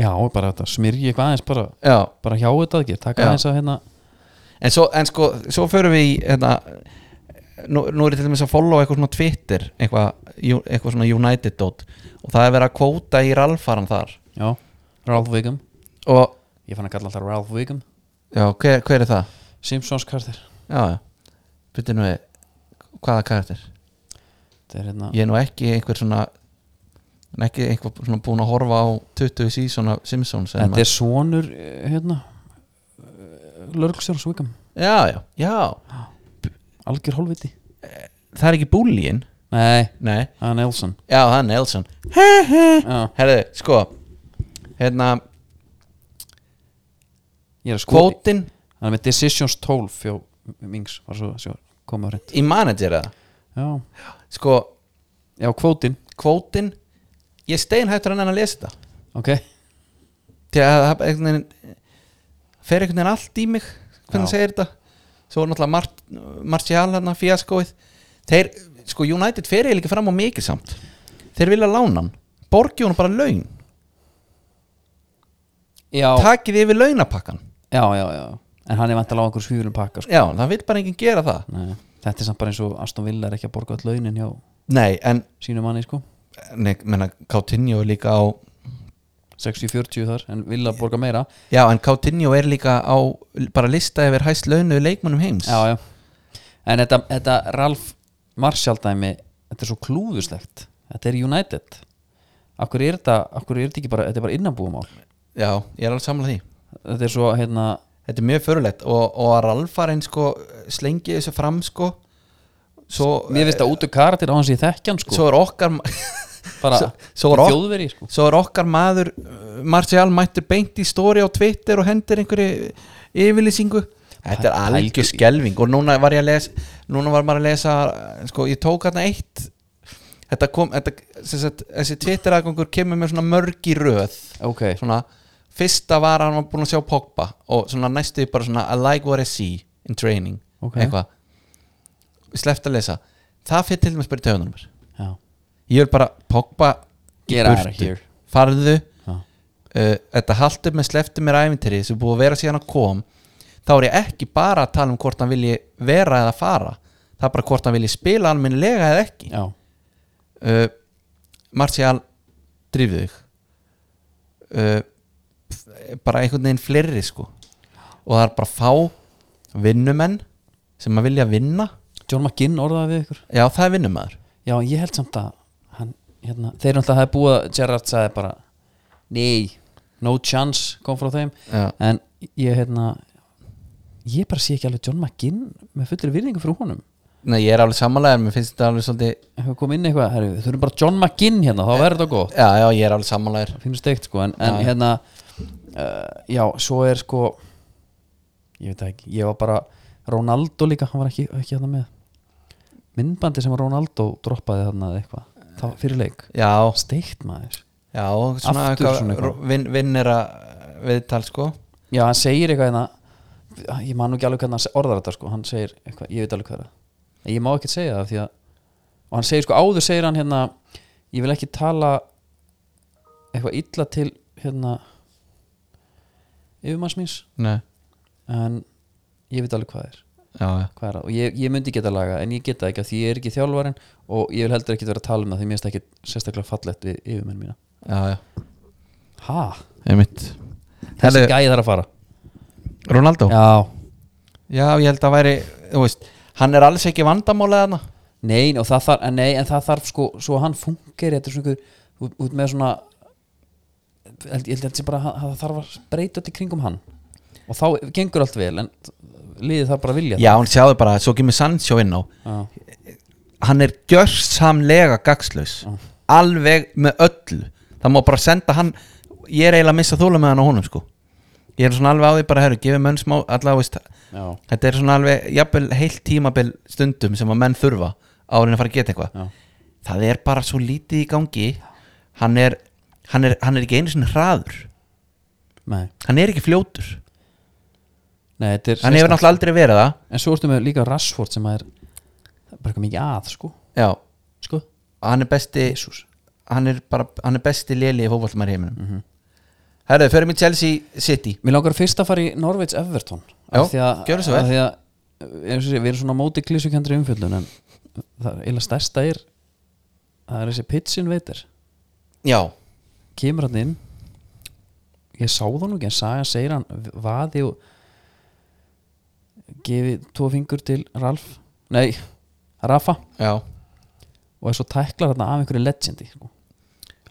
Speaker 2: já, bara þetta smyrji eitthvað aðeins bara,
Speaker 3: já.
Speaker 2: bara hjá þetta ekki, taka
Speaker 3: Já.
Speaker 2: aðeins að hérna
Speaker 3: en svo, en sko, svo förum við í hérna, nú, nú er ég til dæmis að follow eitthvað svona Twitter eitthvað, ju- eitthvað svona United dot og það er verið að kvóta í ralfaran þar
Speaker 2: Já, Ralph Wiggum
Speaker 3: og
Speaker 2: Ég fann að kalla alltaf Ralph Wiggum
Speaker 3: já, hver, hver er það?
Speaker 2: Simpsons karakter
Speaker 3: já, já, byrja nú við hvaða karakter?
Speaker 2: Þetta er hérna
Speaker 3: ég er nú ekki einhver svona ekki einhver svona búin að horfa á 20 sísona Simpsons en
Speaker 2: Þetta er sonur eh, hérna Lörglstjórns Wiggum
Speaker 3: já, já, já,
Speaker 2: Algjör hólviti
Speaker 3: það er ekki búlíin
Speaker 2: Nei,
Speaker 3: nei,
Speaker 2: það er Nelson
Speaker 3: já, það er Nelson Eh.
Speaker 2: Já,
Speaker 3: herðu, sko hérna,
Speaker 2: ég er að sko
Speaker 3: kvótin
Speaker 2: Það er með Decisions 12 Fjó Mings var svo, svo komið á hreint
Speaker 3: í manager eða
Speaker 2: Já,
Speaker 3: sko,
Speaker 2: já kvótin
Speaker 3: kvótin ég stein hættur hann að lesa þetta
Speaker 2: Ok,
Speaker 3: því að það einhvern veginn fer einhvern veginn allt í mig
Speaker 2: Já.
Speaker 3: hvernig það segir þetta svo er náttúrulega Mart, Martial hann fíaskóið þeir, sko United fer eiginlega ekki fram á mikið samt þeir vilja lána hann borgi hún bara laun
Speaker 2: já,
Speaker 3: takið yfir launapakkan
Speaker 2: já, já, já En hann er vantilega á einhver svífulum pakka sko.
Speaker 3: já, það vil bara enginn gera það
Speaker 2: Nei, Þetta er samt bara eins og Aston Villa er ekki að borga all launin hjá
Speaker 3: nei, en
Speaker 2: sínu manni sko
Speaker 3: nei, menna, Coutinho er líka á
Speaker 2: 60-40 þar en Villa borga meira
Speaker 3: já, en Coutinho er líka á bara lista yfir hæst launu leikmannum heims
Speaker 2: já, já. en þetta, þetta Ralf Marshall dæmi þetta er svo klúðuslegt þetta er United akkur er þetta, akkur er þetta ekki bara, þetta er bara innanbúumál
Speaker 3: já ég er alveg samlega því
Speaker 2: þetta er svo hérna
Speaker 3: Þetta er mjög förulegt og, og að Ralfarinn sko slengi þessu fram sko svo,
Speaker 2: mér finnst það út úr karatir á hans í þekkjan sko
Speaker 3: svo er okkar ma-
Speaker 2: bara
Speaker 3: svo- svo er ok-
Speaker 2: þjóðveri sko
Speaker 3: svo er okkar maður uh, Martial mættur beint í stóri á Twitter og hendir einhverju yfirlýsingu Þetta er
Speaker 2: Pæ-
Speaker 3: algjör
Speaker 2: pældu í-
Speaker 3: skelving og núna var ég að lesa núna var maður að lesa uh, sko ég tók hérna eitt þetta kom þetta, sem sagt, þessi Twitter aðgangur kemur með svona mörg í röð
Speaker 2: ok,
Speaker 3: svona fyrsta var að hann var búin að sjá Pogba og svona næstu bara svona I like what I see in training
Speaker 2: Ok.
Speaker 3: eitthvað sleppt að lesa það fyrir til dæmis bara í töðunum mér
Speaker 2: já,
Speaker 3: ég vil bara Pogba í
Speaker 2: Get out of
Speaker 3: burtu.
Speaker 2: here.
Speaker 3: farðu
Speaker 2: já.
Speaker 3: uh, þetta haldur með sleftu mér æfintýri sem er búið að vera síðan að kom þá er ég ekki bara að tala um hvort hann vilji vera eða fara það er bara hvort hann vilji spila almennilega eða ekki
Speaker 2: já.
Speaker 3: uh, Martial drifðu þig uh, f- bara einhvern veginn fleiri sko og það er bara fá vinnumenn sem að vilja vinna
Speaker 2: John McGinn orðaði við ykkur
Speaker 3: já það er vinnumæður
Speaker 2: já, ég held samt að hann, hérna, þeir náttúrulega það er búið að Gerrard sagði bara nei, no chance kom frá þeim
Speaker 3: Já.
Speaker 2: en ég hérna ég bara sé ekki alveg John McGinn með fullri virðingu frá honum
Speaker 3: Nei, ég er alveg samanlegaður, mér finnst þetta alveg svolítið
Speaker 2: eitthvað kom inn eitthvað, herri, við þurfum bara John McGinn hérna, þá verður þetta gott
Speaker 3: Já, já, ég er alveg samanlegaður
Speaker 2: finnst steikt sko, en, en hérna uh, já, svo er sko ég veit það ekki, ég var bara Ronaldo líka, hann var ekki, ekki hérna með myndbandi sem Ronaldo droppaði þarna eða eitthvað, það fyrir leik
Speaker 3: Já,
Speaker 2: steikt maður
Speaker 3: já,
Speaker 2: Aftur
Speaker 3: svona eitthvað,
Speaker 2: svona eitthvað.
Speaker 3: vinn, vinn er að viðtal sko
Speaker 2: Já, hann segir eitthvað hérna Ég man nú ekki alveg hvernig hann orðar þetta sko Hann segir eitthvað, ég veit alveg hvað það er. En ég má ekkert segja það af því að Og hann segir sko, áður segir hann hérna Ég vil ekki tala Eitthvað illa til hérna Yfirmanns míns
Speaker 3: Nei,
Speaker 2: En ég veit alveg hvað það er
Speaker 3: já, já,
Speaker 2: Hvað er það? Og ég, ég myndi geta laga En ég geta það ekki af því ég er ekki þjálfarinn Og ég vil heldur ekki vera að tala um það Því mér er ekki sérstaklega fallegt við yfirmenn mína
Speaker 3: já, já,
Speaker 2: Ha?
Speaker 3: einmitt
Speaker 2: Þessi
Speaker 3: Herðu-
Speaker 2: gæði þar að fara
Speaker 3: Ronaldo? Já.
Speaker 2: Já,
Speaker 3: ég held að væri, þú veist Hann er alls ekki vandamálið hana
Speaker 2: Nein, og það þarf, en nei, en það þarf sko, svo að hann fungeri, þetta er svona ykkur, út með svona held- ég held að þetta sé bara að það þarf að breyta þetta í kringum hann og þá gengur allt vel, en liðið þarf bara að vilja
Speaker 3: Já, hún sjáðu bara, svo kemur Sancho inn á
Speaker 2: það
Speaker 3: Hann er gjörsamlega gagslaus Alveg með öllu Það má bara senda hann Ég er eiginlega að missa þóla með hann á honum sko Ég er svona alveg á því bara, herru, gefið menn smá Alla, veist,
Speaker 2: Já,
Speaker 3: þetta er svona alveg Jafnvel heilt tímabil stundum sem að menn þurfa Árin að fara að geta eitthvað
Speaker 2: Já.
Speaker 3: Það er bara svo lítið í gangi Hann er, hann er, hann er ekki einu sinni hraður
Speaker 2: nei,
Speaker 3: Hann er ekki fljótur
Speaker 2: nei, þetta er
Speaker 3: Hann hefur náttúrulega aldrei verið það
Speaker 2: en svo ertu með líka Rashford sem að er það er bara eitthvað mikið að, sko
Speaker 3: Já,
Speaker 2: sko,
Speaker 3: hann er besti
Speaker 2: Jesus.
Speaker 3: hann er, bara, hann er besti léli í fótballmæri heiminum mm -hmm. Herðu, förum í Chelsea City
Speaker 2: Mér langar fyrst að fara í Norveits Everton
Speaker 3: Já,
Speaker 2: af því að,
Speaker 3: gjörðu svo vel.
Speaker 2: af því að eins og sé, við erum svona á móti klísukendri umfjöldun en það er eila stærsta er það er þessi pitchin veitir
Speaker 3: já,
Speaker 2: kemur hann inn ég sá það nú ekki en saga segir hann vaði og gefi tvo fingur til Ralf nei, Rafa
Speaker 3: já
Speaker 2: og svo tæklar hann af einhverju legendi sko.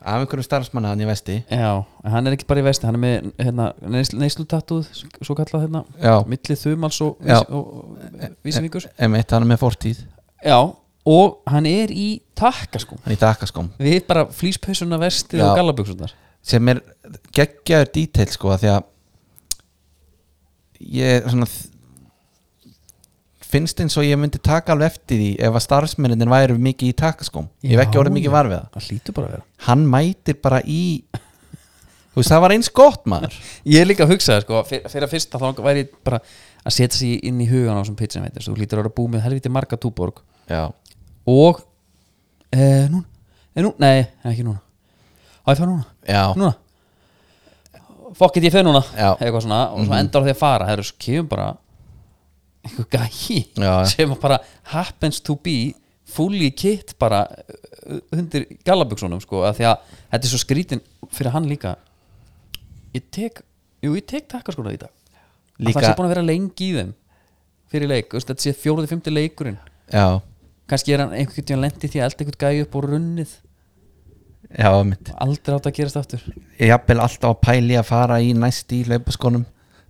Speaker 3: af einhverjum starfsmanna hann í vesti
Speaker 2: já, en hann er ekki bara í vesti hann er með hérna, neyslutatúð svo kallað hérna,
Speaker 3: Já.
Speaker 2: milli þumals og,
Speaker 3: Já.
Speaker 2: og, og vísivíkurs
Speaker 3: Emitt, hann er með fortíð,
Speaker 2: já, og hann er í takka sko
Speaker 3: hann er í dakaskóm
Speaker 2: við bara flýspeysuna vestið
Speaker 3: Já.
Speaker 2: og gallaböksunar
Speaker 3: sem er geggjaður detail sko af því að ég er svona finnst eins og ég myndi taka alveg eftir því ef að starfsmennin væri mikið í takaskóm ég hef ekki orðið mikið var við það
Speaker 2: það hlýtur bara að vera
Speaker 3: hann mætir bara í þú veist það var eins gott maður
Speaker 2: ég er líka að hugsa það sko fyr- fyrir að fyrsta þá væri ég bara að setja sig inn í hugan á þessum pitchin veitir þú hlýtur að vera búið með helviti marga túborg
Speaker 3: já,
Speaker 2: og e, núna, e, nú, nei, ekki núna á ég fæ núna,
Speaker 3: já,
Speaker 2: núna fuck it ég fæ núna
Speaker 3: Já. Mhm.
Speaker 2: eitthvað svona og svo endar á því að fara það eru svo kemur bara einhver gæi
Speaker 3: Já, já.
Speaker 2: sem að bara happens to be fully kit bara uh, undir gallaböksunum sko að því að þetta er svo skrítin fyrir hann líka ég tek, jú ég tek takkar sko í dag
Speaker 3: Líka-
Speaker 2: að það sé búin að vera lengi í þeim fyrir leik, þú veist, þetta sé fjóruði fymti leikurinn
Speaker 3: já,
Speaker 2: kannski er hann einhvern tíðan lendi því að elda einhvern gæði upp og runnið
Speaker 3: já mitt.
Speaker 2: aldrei átt að gerast aftur
Speaker 3: ég jafnvel alltaf að pæli að fara í næst í leipaskonum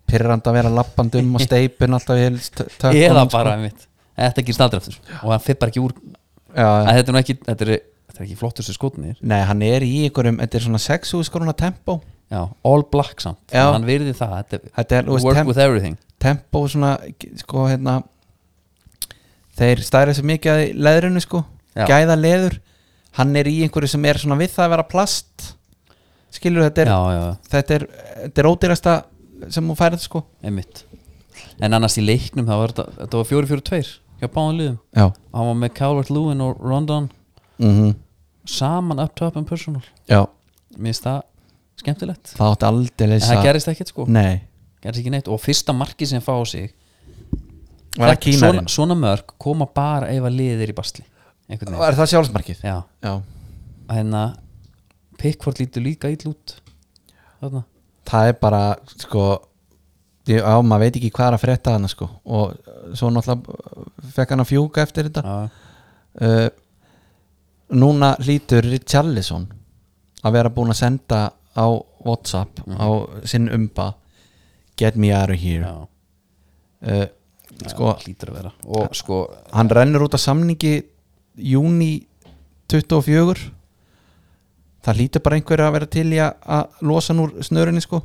Speaker 3: pyrrand að vera lappand um og steipun alltaf í helst tö- tökkunum,
Speaker 2: eða
Speaker 3: sko.
Speaker 2: bara einmitt þetta gerist aldrei aftur og hann fyrir bara ekki úr
Speaker 3: já,
Speaker 2: að
Speaker 3: já.
Speaker 2: þetta er nú ekki, þetta er, þetta er ekki flottustu skotnir
Speaker 3: nei, hann er í einhverjum, þetta er svona 6.000 skoruna tempo
Speaker 2: já, all black samt,
Speaker 3: Já.
Speaker 2: hann virði það þetta er,
Speaker 3: Þetta er, þú veist,
Speaker 2: work
Speaker 3: temp-
Speaker 2: with everything
Speaker 3: tempo svona sko hérna þeir stærið svo mikið að leðrinu sko
Speaker 2: Já.
Speaker 3: gæða leður hann er í einhverju sem er svona við það að vera plast skilur þetta er
Speaker 2: já, já,
Speaker 3: þetta er, þetta er ódýrasta sem hún færið sko
Speaker 2: einmitt en annars í leiknum það var þetta, þetta var 4-4-2 hjá báðan liðum
Speaker 3: já
Speaker 2: og hann var með Calvert-Lewin og Rondon
Speaker 3: mm
Speaker 2: saman up top and personal
Speaker 3: já
Speaker 2: mér finnst það skemmtilegt
Speaker 3: það átti aldrei
Speaker 2: en það gerist ekkert sko
Speaker 3: nei
Speaker 2: gerist ekki neitt og fyrsta markið sem fá á sig
Speaker 3: var
Speaker 2: Þetta-
Speaker 3: það
Speaker 2: svona,
Speaker 3: kínarinn
Speaker 2: svona mörg koma bara ef að liðir í basli einhvern veginn
Speaker 3: var það sjálfsmarkið
Speaker 2: já
Speaker 3: já
Speaker 2: hérna Pickford lítur líka ill út þarna
Speaker 3: það er bara sko ég- já maður veit ekki hvað er að frétta hann sko og uh, svo náttúrulega fekk hann að fjúka eftir þetta
Speaker 2: já
Speaker 3: uh, núna hlýtur Richarlison að vera búin að senda á Whatsapp á sinn umba get me out of here
Speaker 2: já
Speaker 3: uh, sko,
Speaker 2: lítur að vera og sko
Speaker 3: hann rennur út af samningi júni 24 það hlýtur bara einhverju að vera til í að- að losa hann úr snörinni sko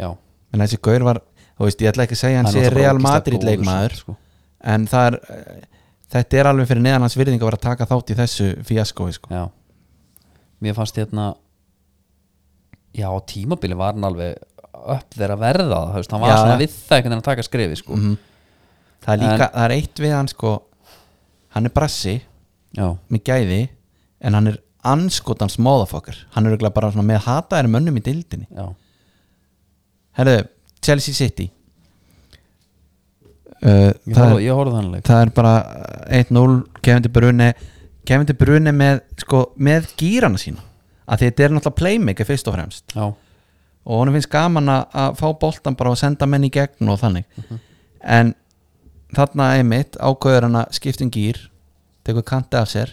Speaker 2: já
Speaker 3: en þessi gaur var, þú veist ég ætla ekki að segja hann
Speaker 2: Hann er
Speaker 3: sé
Speaker 2: náttúrulega
Speaker 3: Real
Speaker 2: bara ógeðslega
Speaker 3: Madrid
Speaker 2: góður
Speaker 3: leikmaður
Speaker 2: samt, sko.
Speaker 3: en það er eh, þetta er alveg fyrir neðan hans virðing að vera að taka þátt í þessu fíaskói sko.
Speaker 2: já mér fannst hérna já á tímabili var hann alveg upp þeirra verða það þú veist, hann var
Speaker 3: Já. Mhm.
Speaker 2: svona við það einhvern veginn að taka skrefi sko
Speaker 3: það er líka, það er eitt við hann sko hann er brassi
Speaker 2: já
Speaker 3: með gæði en hann er anskotans móðafokkar hann er örugglega bara svona með hataðir mönnum í dildinni
Speaker 2: já
Speaker 3: herðu, Chelsea City uh,
Speaker 2: ég
Speaker 3: það,
Speaker 2: horfði-
Speaker 3: er,
Speaker 2: ég horfði þannig leik
Speaker 3: það er bara 1-0 kefindi brunni kefindi brunni með sko, með gýrana sína að þetta er náttúrulega playmaker fyrst og fremst
Speaker 2: já
Speaker 3: og honum finnst gaman að- að fá boltan bara og senda menn í gegn og þannig en þarna einmitt ákveður hann að skipta um gýr tekur kanti af sér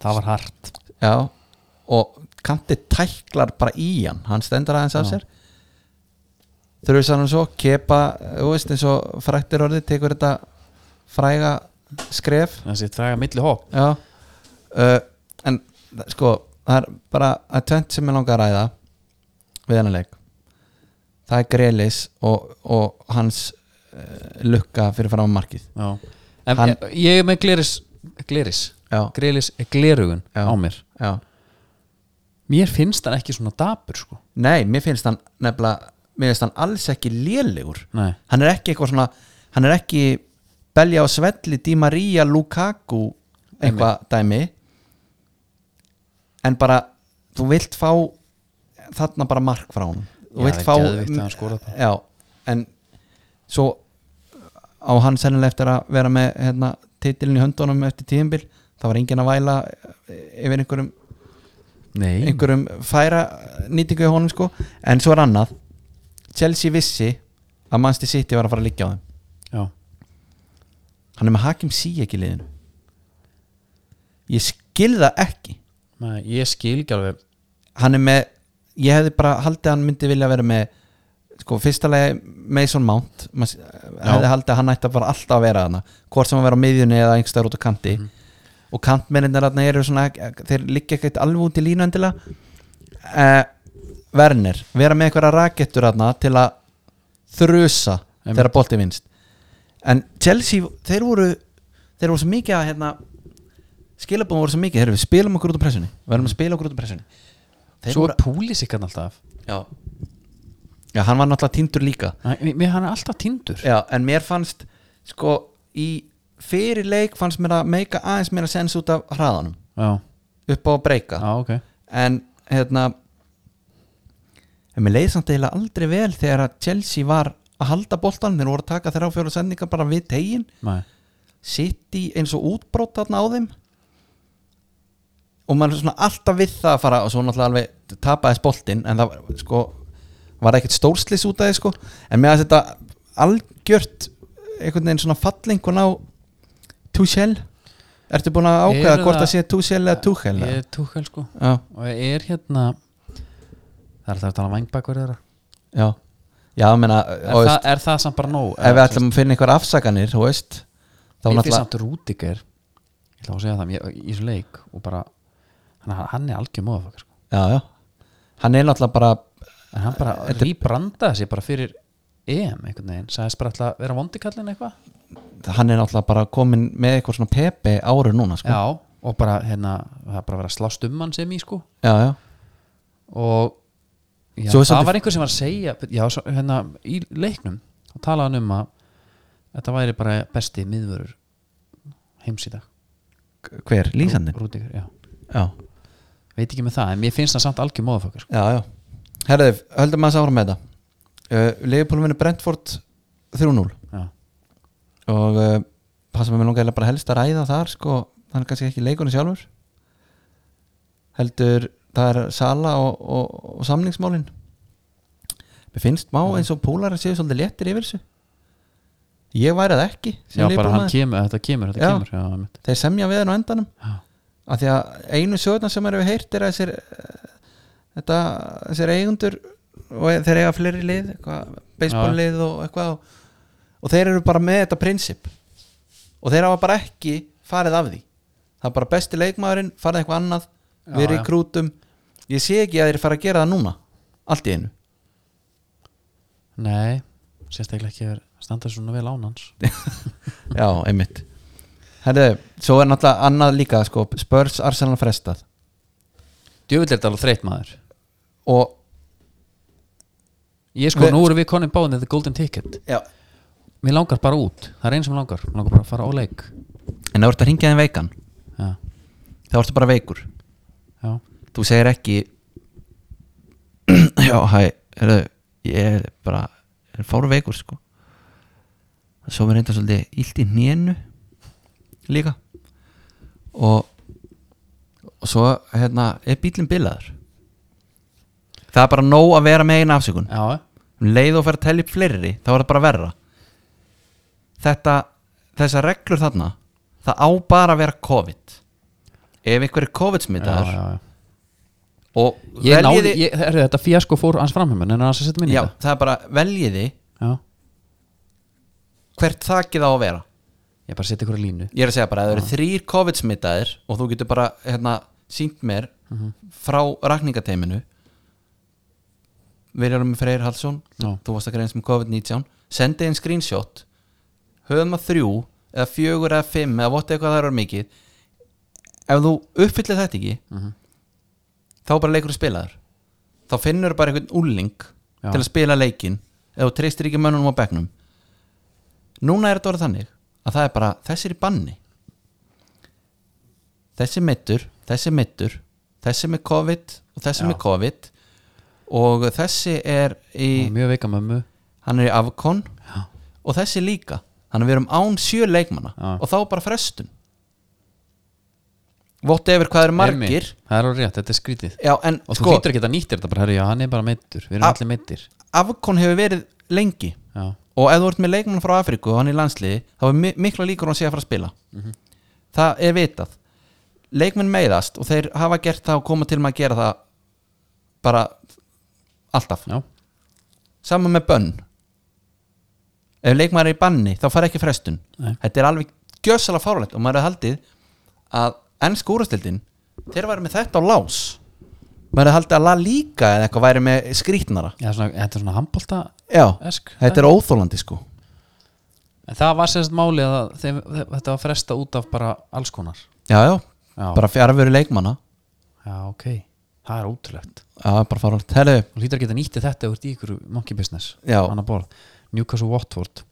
Speaker 2: það var hart
Speaker 3: já, og kanti tæklar bara í hann hann stendur aðeins af sér þurfisar hann svo, kepa þú veist eins og frættir orðið tekur þetta fræga skref
Speaker 2: þessi fræga milli hopp
Speaker 3: já uh, en það- sko það er bara að tvent sem ég langar að ræða við hennar leik það er Grelis og, og hans uh, lukka fyrir fram á markið
Speaker 2: já en
Speaker 3: Hann-
Speaker 2: ég, ég er með gleris gleris
Speaker 3: Já.
Speaker 2: gleris glerugun
Speaker 3: Já.
Speaker 2: á mér
Speaker 3: já.
Speaker 2: mér finnst hann ekki svona dapur sko
Speaker 3: nei, mér finnst hann nefnilega mér finnst hann alls ekki lélegur
Speaker 2: Nei.
Speaker 3: hann er ekki eitthvað svona hann er ekki belja á svelli Di Maria Lukaku eitthvað dæmi en bara þú vilt fá þarna bara mark frá hún
Speaker 2: Já,
Speaker 3: þú vilt
Speaker 2: það er
Speaker 3: fá
Speaker 2: geðveikt að hann skoraði bara.
Speaker 3: já, en svo á á hann sennilega eftir að vera með hérna, titilin í höndunum eftir tíðinbil það var engin að væla eh, yfir einhverjum,
Speaker 2: Nei,
Speaker 3: einhverjum færa nýtingu í honum sko en svo er annað Chelsea vissi að Manchester City var að fara að liggja á þeim
Speaker 2: já,
Speaker 3: hann er með Hakim Ziyech í liðinu ég skil það ekki
Speaker 2: Nei, ég skil ekki alveg
Speaker 3: hann er með ég hefði bara haldið að hann myndi vilja vera með sko fyrsta lagi Mason Mount Mas, hefði haldið að hann ætti að bara alltaf að vera hana hvort sem að vera á miðjunni eða einhverstaður út á kanti og kantmennirnar þarna eru svona þeir liggja ekkert alveg út í línu endilega eh, Werner vera með einhverja rakettur þarna til að þrusa
Speaker 2: Einmitt.
Speaker 3: þegar bolti vinst en Chelsea, þeir voru þeir voru svo mikið að hérna, skilabóðum voru svo mikið, þeir við spilum okkur út á pressunni við erum að spila okkur út á pressunni Þeir
Speaker 2: Mm. Svo
Speaker 3: voru-
Speaker 2: er púlis ykkur alltaf
Speaker 3: Já Já, hann var náttúrulega tindur líka
Speaker 2: Nei, mér hann er alltaf tindur
Speaker 3: Já, en mér fannst sko í fyrir leik fannst mér að meika aðeins mér að sens út af hraðanum
Speaker 2: Já,
Speaker 3: upp á að breyka
Speaker 2: já, ok
Speaker 3: en hérna en mér leið samt eiginlega aldrei vel þegar að Chelsea var að halda boltan þeir voru að taka þeirra á fjóra sendingar bara við tegin
Speaker 2: Nei,
Speaker 3: sitt í eins og útbrótt þarna á þeim og maður er svona alltaf við það að fara og svo náttúrulega alveg tapaðist boltinn en það var, sko, var ekkert stórslis út af því sko en með að þetta algjört einhvern veginn svona fallingun á Tuchel ertu búin að ákveða
Speaker 2: Eru
Speaker 3: hvort
Speaker 2: það-
Speaker 3: það sé Tuchel eða Tuchel eða?
Speaker 2: ég er túkæl sko
Speaker 3: já,
Speaker 2: Og ég er hérna Það er það að tala vangbækur þeirra
Speaker 3: já, já, ég meina
Speaker 2: er,
Speaker 3: þú
Speaker 2: það,
Speaker 3: veist,
Speaker 2: er það samt bara nóg?
Speaker 3: ef við ætlum að finna einhver afsakanir þú veist, þá
Speaker 2: Þá
Speaker 3: var
Speaker 2: náttúrulega
Speaker 3: náttúrulega
Speaker 2: samt Rúdiger Ég ætla að segja það, ég, í svo leik og bara, hann, hann er algjör móðafakar sko.
Speaker 3: já, já, hann er náttúrulega bara
Speaker 2: en hann bara rýbrandaði sér bara fyrir EM einhvern veginn, sagðist bara alltaf vera vondikallin eitthvað
Speaker 3: hann er náttúrulega bara komin með eitthvað svona pepe áru núna sko.
Speaker 2: Já, og bara hérna það er bara að vera að slást um hann sem í sko
Speaker 3: já, já,
Speaker 2: og já, það
Speaker 3: Svo er svolítið-
Speaker 2: var einhver sem var að segja já, svo, hérna, í leiknum og talaði hann um að þetta væri bara besti miðvörur heims í dag
Speaker 3: hver, lýsandinn
Speaker 2: Rúdiger, já,
Speaker 3: já,
Speaker 2: veit ekki með það en mér finnst það samt algjör móðafakar sko.
Speaker 3: já, já herðið, höldum maður sára með þetta uh, Leifupólum vinnur Brentford 3-0
Speaker 2: já,
Speaker 3: og uh, passa með mér langaði bara helst að ræða þar sko, hann er kannski ekki leikunni sjálfur heldur það er Sala og, og, og samningsmálin mér finnst má eins og púlar að séu svolítið léttir yfir þessu ég væri það ekki sem
Speaker 2: já bara hann
Speaker 3: Liverpool-maður.
Speaker 2: kemur, þetta kemur, þetta
Speaker 3: Já.
Speaker 2: kemur já, einmitt.
Speaker 3: þeir semja við hann á endanum
Speaker 2: Já.
Speaker 3: af því að einu sögurnar sem eru heyrt er að þessir eh, þetta, þessir eigundur og e, þeir eiga fleiri lið baseball lið og eitthvað og, og þeir eru bara með þetta prinsip og þeir hafa bara ekki farið af því það er bara besti leikmaðurinn farið eitthvað annað,
Speaker 2: Já,
Speaker 3: við
Speaker 2: já.
Speaker 3: rekrútum ég sé ekki að þeir fara að gera það núna allt í einu
Speaker 2: nei, sérstaklega ekki að standa svona vel án hans
Speaker 3: Já, einmitt Herðu, svo er náttúrulega annað líka sko, Spurs Arsenal frestað
Speaker 2: djöfull er þetta alveg þreytt maður
Speaker 3: og
Speaker 2: ég sko,
Speaker 3: Við-
Speaker 2: nú erum við konin báðin þetta golden ticket
Speaker 3: já,
Speaker 2: mér langar bara út, það er einn sem mig langar mér langar bara að fara á leik
Speaker 3: En það voru að hringja þeim veikan
Speaker 2: já,
Speaker 3: Það voru bara veikur
Speaker 2: já,
Speaker 3: Þú segir ekki Já, hæ, heyrðu Ég er bara, er fáru veikur sko Svo mér reynda svolítið Ílt í hnénu Líka Og, og svo, hérna Er bílinn bilaður Það er bara nóg að vera með eina afsökun
Speaker 2: já,
Speaker 3: um leið og fer að telja upp fleiri þá er það bara verra þetta, þessar reglur þarna það á bara að vera COVID ef einhver er COVID
Speaker 2: já,
Speaker 3: smittaður
Speaker 2: já, já.
Speaker 3: og
Speaker 2: ég
Speaker 3: veljiði
Speaker 2: náði, ég, er þetta fíasko fór hans framhjumman en hans að setja minni
Speaker 3: já, það er bara veljiði
Speaker 2: já,
Speaker 3: hvert þakið á að vera
Speaker 2: ég bara setja ykkur í línu
Speaker 3: ég er að segja bara, ef það
Speaker 2: Ah.
Speaker 3: eru þrýr COVID smittaðir og þú getur bara hérna, sínt mér
Speaker 2: Mhm.
Speaker 3: frá rakningateiminu við erum með Freyr Hallsson
Speaker 2: Já.
Speaker 3: þú varst að greina sem COVID-19 sendi einn screenshot höfum að þrjú eða fjögur eða fimm eða votta eitthvað það eru mikið ef þú uppfyllir þetta ekki
Speaker 2: Mhm.
Speaker 3: þá er bara leikur að spila þér þá finnur bara einhvern úlling
Speaker 2: Já.
Speaker 3: til að spila leikin eða þú treystir ekki mönnunum á bekknum núna er þetta orðið þannig að það er bara þessi er í banni þessi er meittur þessi er meittur, þessi er með COVID og þessi er
Speaker 2: Já.
Speaker 3: með COVID og þessi er í
Speaker 2: Og mjög veika mömmu
Speaker 3: hann er í Avcon
Speaker 2: Já.
Speaker 3: og þessi líka þannig að við erum án sjö leikmanna
Speaker 2: Já.
Speaker 3: og þá bara frestun vott yfir hvað eru margir
Speaker 2: Það er alveg rétt, þetta er skrítið
Speaker 3: já, en
Speaker 2: Og þú
Speaker 3: sko,
Speaker 2: hýttir ekki að nýttir þetta bara, herri, já, hann er bara meittur Við erum
Speaker 3: Af-
Speaker 2: allir meittir
Speaker 3: afkon hefur verið lengi
Speaker 2: Já,
Speaker 3: og ef þú ert með leikmann frá Afríku og hann er í landsliði þá er mi- mikla líkur á að hann sé að fara að spila
Speaker 2: Mhm.
Speaker 3: það er vitað leikmenn meiðast og þeir hafa gert það og koma til með að gera það bara alltaf
Speaker 2: já,
Speaker 3: saman með bönn ef leikmaður er í banni þá fara ekki frestun
Speaker 2: Nei.
Speaker 3: þetta er alveg gjössalega fáralegt og maður er haldið að ennsk úrastildin þeir væri með þetta á lás maður er haldið að la líka eða eitthvað væri með skrítnara
Speaker 2: já svona, þetta er svona handbolta
Speaker 3: já,
Speaker 2: Esk,
Speaker 3: þetta er óþólandi sko
Speaker 2: En það var sérst máli að það- þeim, þetta var fresta út af bara alls konar
Speaker 3: já, já,
Speaker 2: Já.
Speaker 3: bara fjarveru leikmanna
Speaker 2: Já, ok, það er ótrúlegt
Speaker 3: já, bara fáralegt, herru
Speaker 2: Þú hýttir ekki að nýttir þetta ef þú ert í ykkur monkey business
Speaker 3: Já.
Speaker 2: Annað borð, Newcastle Watford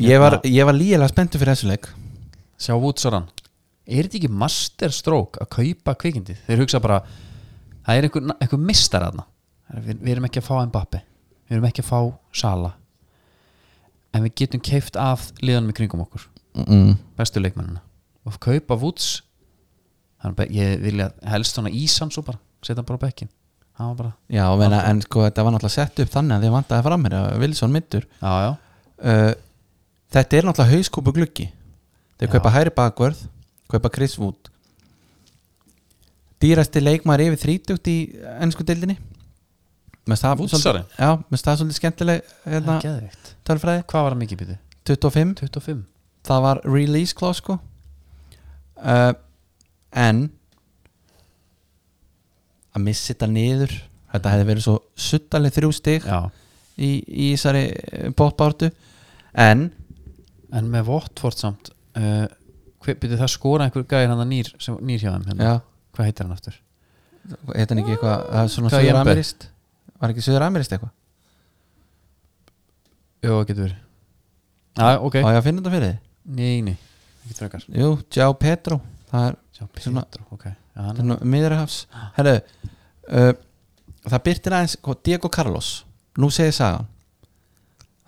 Speaker 3: ég var,
Speaker 2: Hérna.
Speaker 3: ég var lígilega spenntu fyrir þessu leik
Speaker 2: Sjá Woodsoran Er þetta ekki masterstroke að kaupa kvikindið? Þeir hugsa bara Það er einhver, einhver mistar aðna við, við erum ekki að fá Mbappi Við erum ekki að fá Sala En við getum keift af liðanum í kringum okkur
Speaker 3: mm.
Speaker 2: Bestu leikmennina Og kaupa Woods hann, bara- Ég vilja helst svona ísan svo bara Setja hann bara á bekkin Hann var bara
Speaker 3: já, menna, en sko þetta var náttúrulega sett upp þannig að þið vantaði fram mér að Wilson middur
Speaker 2: Já, já,
Speaker 3: uh, þetta er náttúrulega hauskúpu gluggi þeir
Speaker 2: Já.
Speaker 3: kaupa hæri bakvörð kaupa Chris Wood dýrasti leikmaður yfir 30 í ennsku deildinni með það
Speaker 2: Woodsari?
Speaker 3: svolítið- já, með það svolítið skemmtileg
Speaker 2: það
Speaker 3: hérna,
Speaker 2: er geðvikt
Speaker 3: tölfræði,
Speaker 2: Hvað var hann mikið býtið?
Speaker 3: 25
Speaker 2: 25
Speaker 3: það var release clause sko uh, en að missa þetta niður þetta hefði verið svo suttaleg þrjú stig
Speaker 2: Já
Speaker 3: í, í þessari bóttbártu en
Speaker 2: En með Watford samt uh, hver, byrju, Það skora einhver gæðir hann að nýr, sem, nýr hjá þeim hérna.
Speaker 3: já,
Speaker 2: Hvað heitir hann aftur?
Speaker 3: heit hann ekki eitthvað það er svona
Speaker 2: Hvað er
Speaker 3: söður-amirist var ekki söður-amirist eitthvað
Speaker 2: Jó, það getur verið Já, ok
Speaker 3: okay. á ég að finna þetta fyrir þið
Speaker 2: Nei, nei, ekki frekar
Speaker 3: jú, Gjá Petro það er
Speaker 2: Sjá,
Speaker 3: Svona-
Speaker 2: Petru, ok Já, hann
Speaker 3: þannig miðurhafs herru uh, það byrtir aðeins sko, Diego Carlos nú segir sagan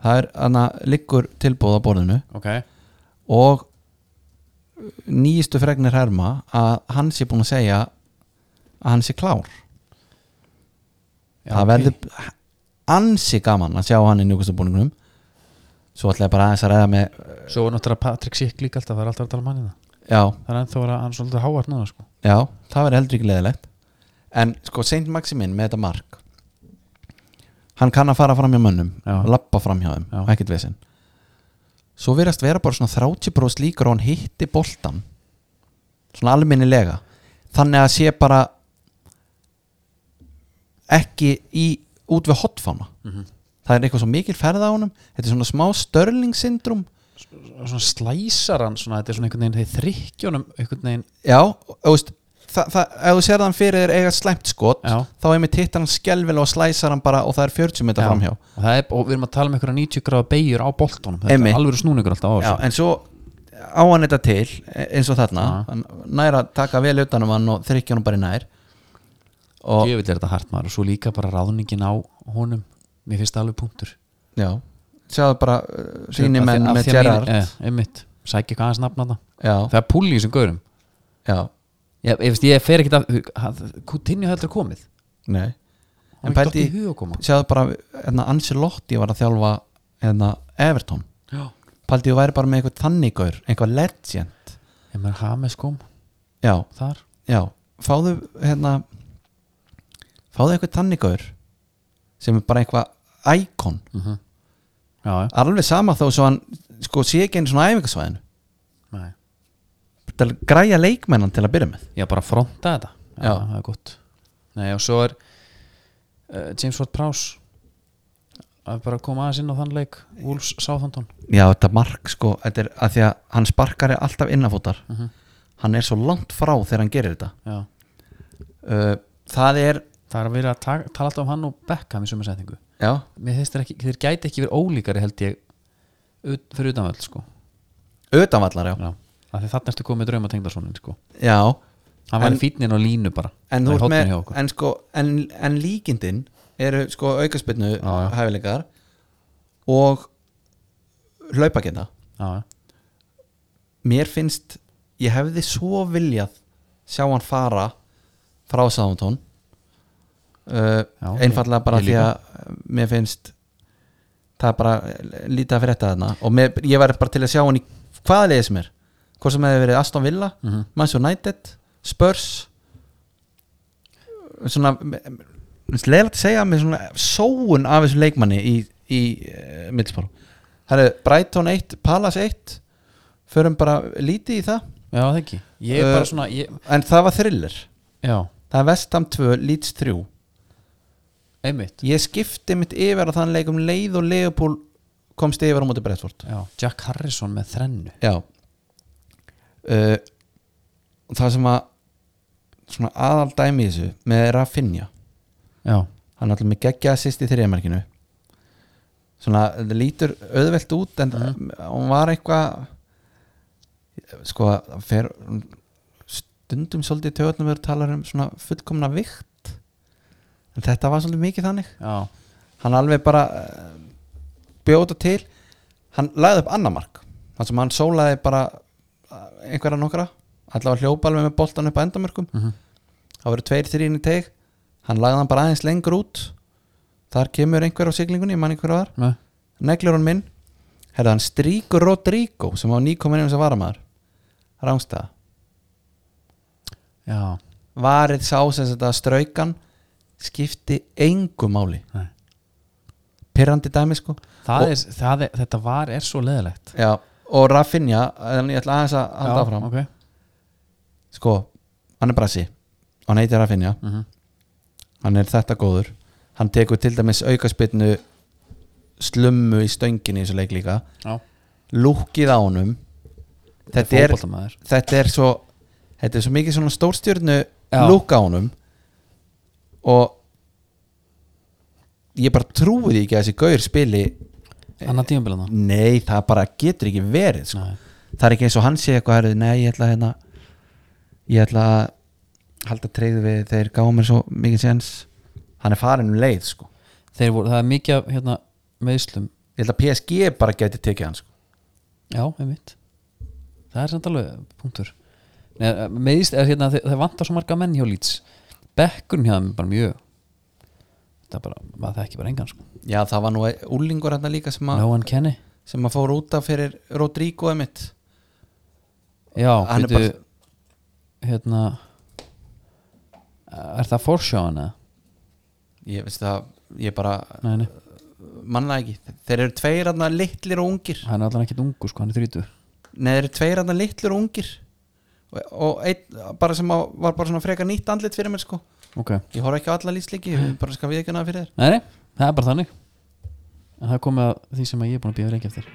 Speaker 3: það er hann að liggur tilbúð á borðinu
Speaker 2: Ok,
Speaker 3: og nýjistu fregnir herma að hann sé búin að segja að hann sé klár
Speaker 2: já,
Speaker 3: það verður ansi gaman að sjá hann í njúkastabúningunum svo ætla ég bara aðeins að ræða með
Speaker 2: Svo er náttúrulega Patrik Sik líka alltaf Það er alltaf að tala manni það
Speaker 3: já,
Speaker 2: Það er ennþá að hann er svolítið hávar núna sko
Speaker 3: já, það verður heldur ekki leðilegt en sko Saint Maximin með þetta mark hann kann að fara fram hjá mönnum
Speaker 2: Já.
Speaker 3: lappa fram hjá þeim,
Speaker 2: Já.
Speaker 3: ekkert vesinn svo verðast vera bara svona 30% líkur og hann hitti boltan svona almennilega þannig að sé bara ekki í út við hotfána
Speaker 2: Mhm.
Speaker 3: það er eitthvað svo mikil ferð á honum þetta er svona smá störlingssyndrum
Speaker 2: Og Svona slæsar hann svona Þetta er svona einhvern veginn Þeir þrykkjónum einhvern veginn
Speaker 3: Já, og- og veist þa- það- ef þú sér þann fyrir þér eiga slæmt skot
Speaker 2: Já.
Speaker 3: þá einmitt hittar hann skelvil og slæsar hann bara og það er 40 metra
Speaker 2: Já.
Speaker 3: framhjá
Speaker 2: og, það er, og við erum að tala um einhverja 90 gráða beigjur á boltunum Þetta
Speaker 3: Einmitt.
Speaker 2: er alveg snúningur alltaf á
Speaker 3: Já,
Speaker 2: þessu
Speaker 3: en svo á hann þetta til e- eins og þarna
Speaker 2: Já.
Speaker 3: hann nær að taka vel utanum hann og þrykkja hann bara í nær og
Speaker 2: Ég vil er þetta hart maður Og svo líka bara ráðningin á honum Mér finnst það alveg punktur
Speaker 3: já, sjáðu bara síni
Speaker 2: Af því-
Speaker 3: menn
Speaker 2: af því
Speaker 3: með
Speaker 2: að mín-
Speaker 3: Gerrard
Speaker 2: eh, Einmitt, sækja hvað hans nafna það
Speaker 3: já,
Speaker 2: Það er púli í þessum gaurum
Speaker 3: já,
Speaker 2: Ég, ég, veist, ég fer ekkert að Coutinho heldur að komið
Speaker 3: nei
Speaker 2: Hann
Speaker 3: En
Speaker 2: er ekki
Speaker 3: pældi-
Speaker 2: í hug að koma
Speaker 3: sjáðu bara, hérna Ancelotti var að þjálfa hérna Everton
Speaker 2: Já.
Speaker 3: Paldið væri bara með eitthvað þannigaur eitthvað legend
Speaker 2: Ef maður Hames kom
Speaker 3: já,
Speaker 2: þar
Speaker 3: Já, fáðu hérna fáðu eitthvað tannigaur sem er bara eitthvað íkon
Speaker 2: Já, já
Speaker 3: alveg sama þó svo hann sko sé ekki einu svona æfingasvæðinu
Speaker 2: Nei.
Speaker 3: til að græja leikmennan til að byrja með
Speaker 2: Ég bara fronta þetta
Speaker 3: Já.
Speaker 2: það er gott Nei, og svo er uh, James Ward Prowse að bara koma aðeins inn á þann leik Wolves Southampton
Speaker 3: Já, þetta mark sko, þetta er að því að hann sparkar er alltaf innafótar hann er svo langt frá þegar hann gerir þetta
Speaker 2: já.
Speaker 3: uh, það er
Speaker 2: Það er að vera að taka, tala alltaf um hann og Beckham í sömu setningu
Speaker 3: já,
Speaker 2: Mér þeir, ekki, þeir gæti ekki verið ólíkari held ég ut, fyrir utanvöld sko
Speaker 3: utanvallar já,
Speaker 2: Já, af því þarna ertu komið drauma tengdarsónin sko
Speaker 3: já.
Speaker 2: Hann var
Speaker 3: En-
Speaker 2: í fítnin og línu bara
Speaker 3: En, þú
Speaker 2: Það er
Speaker 3: ert
Speaker 2: hotnið
Speaker 3: með,
Speaker 2: hjá okkur.
Speaker 3: en, sko, en, en líkindin eru sko aukaspinnu
Speaker 2: já.
Speaker 3: hæfileikar og hlaupagenda
Speaker 2: já,
Speaker 3: mér finnst ég hefði svo viljað sjá hann fara frá Sáðuntón uh,
Speaker 2: Já,
Speaker 3: einfallega
Speaker 2: ég-
Speaker 3: bara
Speaker 2: ég
Speaker 3: því að uh, mér finnst það er bara eh, lítið að fyrir þetta þarna og mér, ég væri bara til að sjá hann í hvaða liðið sem er hvort sem hefði verið Aston Villa mm
Speaker 2: Mhm.
Speaker 3: -hmm. Manchester United, Spurs svona leðilegt að segja með svona sóun af þessum leikmanni í, í uh, Middlesbrough það er Brighton 1, Palace 1 förum bara lítið í það
Speaker 2: já, það ekki ég er
Speaker 3: Uh,
Speaker 2: bara svona, ég,
Speaker 3: en það var thriller
Speaker 2: já,
Speaker 3: það er Vestam 2, Leeds 3
Speaker 2: einmitt
Speaker 3: ég skipti mitt yfir að þann leikum leið og Leopold komst yfir á móti Brentford
Speaker 2: já, Jack Harrison með þrennu
Speaker 3: já uh, það sem að svona aðal dæmi í þessu með Rafinha
Speaker 2: já,
Speaker 3: hann er alltaf með geggja assist í þriðamarkinu svona, það lítur auðvelt út en hún var eitthvað sko, það fer stundum svolítið töðnum við talar um svona fullkomna vikt en þetta var svolítið mikið þannig
Speaker 2: já,
Speaker 3: hann alveg bara eh, bjóta til hann lagði upp annar mark þannig sem hann sólaði bara eh, einhverja nokkra allavega hljópa alveg með boltan upp að endamörkum
Speaker 2: Mhm.
Speaker 3: það voru tveir þrín í teg hann lagði hann bara aðeins lengur út þar kemur einhver á siglingunni ég man einhver var,
Speaker 2: með,
Speaker 3: neglur hann minn herða hann stríkur Rodrigo sem á nýkomin eins og varamæður rángstæða
Speaker 2: já
Speaker 3: varið sá sem þetta straukan skipti engu máli
Speaker 2: Nei.
Speaker 3: pirrandi dæmi sko
Speaker 2: það
Speaker 3: Og-
Speaker 2: er, það er, þetta var er svo leðilegt
Speaker 3: Já, og Rafinha en ég ætla aðeins að halda áfram
Speaker 2: ok,
Speaker 3: sko, hann er brasi og hann heitir Rafinha
Speaker 2: Mhm.
Speaker 3: hann er þetta góður hann tekur til dæmis aukaspinnu slummu í stönginni í þessu leik líka
Speaker 2: já,
Speaker 3: lúkið á honum þetta er,
Speaker 2: fótboltamaður
Speaker 3: þetta er svo þetta er svo mikið svona stórstjörnu
Speaker 2: Já.
Speaker 3: lúk á honum og ég bara trúi því ekki að þessi gaur spili
Speaker 2: annar tímabilan það
Speaker 3: nei, það bara getur ekki verið Eh, sko.
Speaker 2: Nei.
Speaker 3: það er ekki eins og hann sé eitthvað herrið, nei, ég ætla að hérna, ég ætla að halda treyðu við þeir gáðu mér svo mikið séns hann er farin um leið sko.
Speaker 2: þeir voru, það er mikið af, hérna, meðslum
Speaker 3: ég ætla að PSG bara geti tekið hann sko.
Speaker 2: já, einmitt það er samt alveg punktur Nei, meðsl, er, hérna, þeir, þeir vantar svo marga menn hjá lýts bekkurinn hjá þeim er bara mjög það er bara, maður þekki bara engan sko.
Speaker 3: já, það var nú úlingur hann líka sem að,
Speaker 2: no one kenny
Speaker 3: sem að fór út af fyrir Rodrigo emitt
Speaker 2: já,
Speaker 3: Hann er
Speaker 2: veitu
Speaker 3: bara-
Speaker 2: hérna eh, er það forsjáðan eða?
Speaker 3: ég veist það, ég bara
Speaker 2: Nei, nei,
Speaker 3: manna ekki, þeir eru tveir hann litlir og ungir
Speaker 2: hann er allan ekkert ungur sko, hann er 30
Speaker 3: Nei, þeir eru tveir andan litlir og ungir og, og einn bara sem að, var bara svona freka nýtt andlit fyrir mér sko
Speaker 2: ok,
Speaker 3: Ég horf ekki á alla lýsleiki, ég bara skal við ekki hana fyrir þér
Speaker 2: nei, nei, það er bara þannig en það er komið að því sem að ég er búin að býja lengi eftir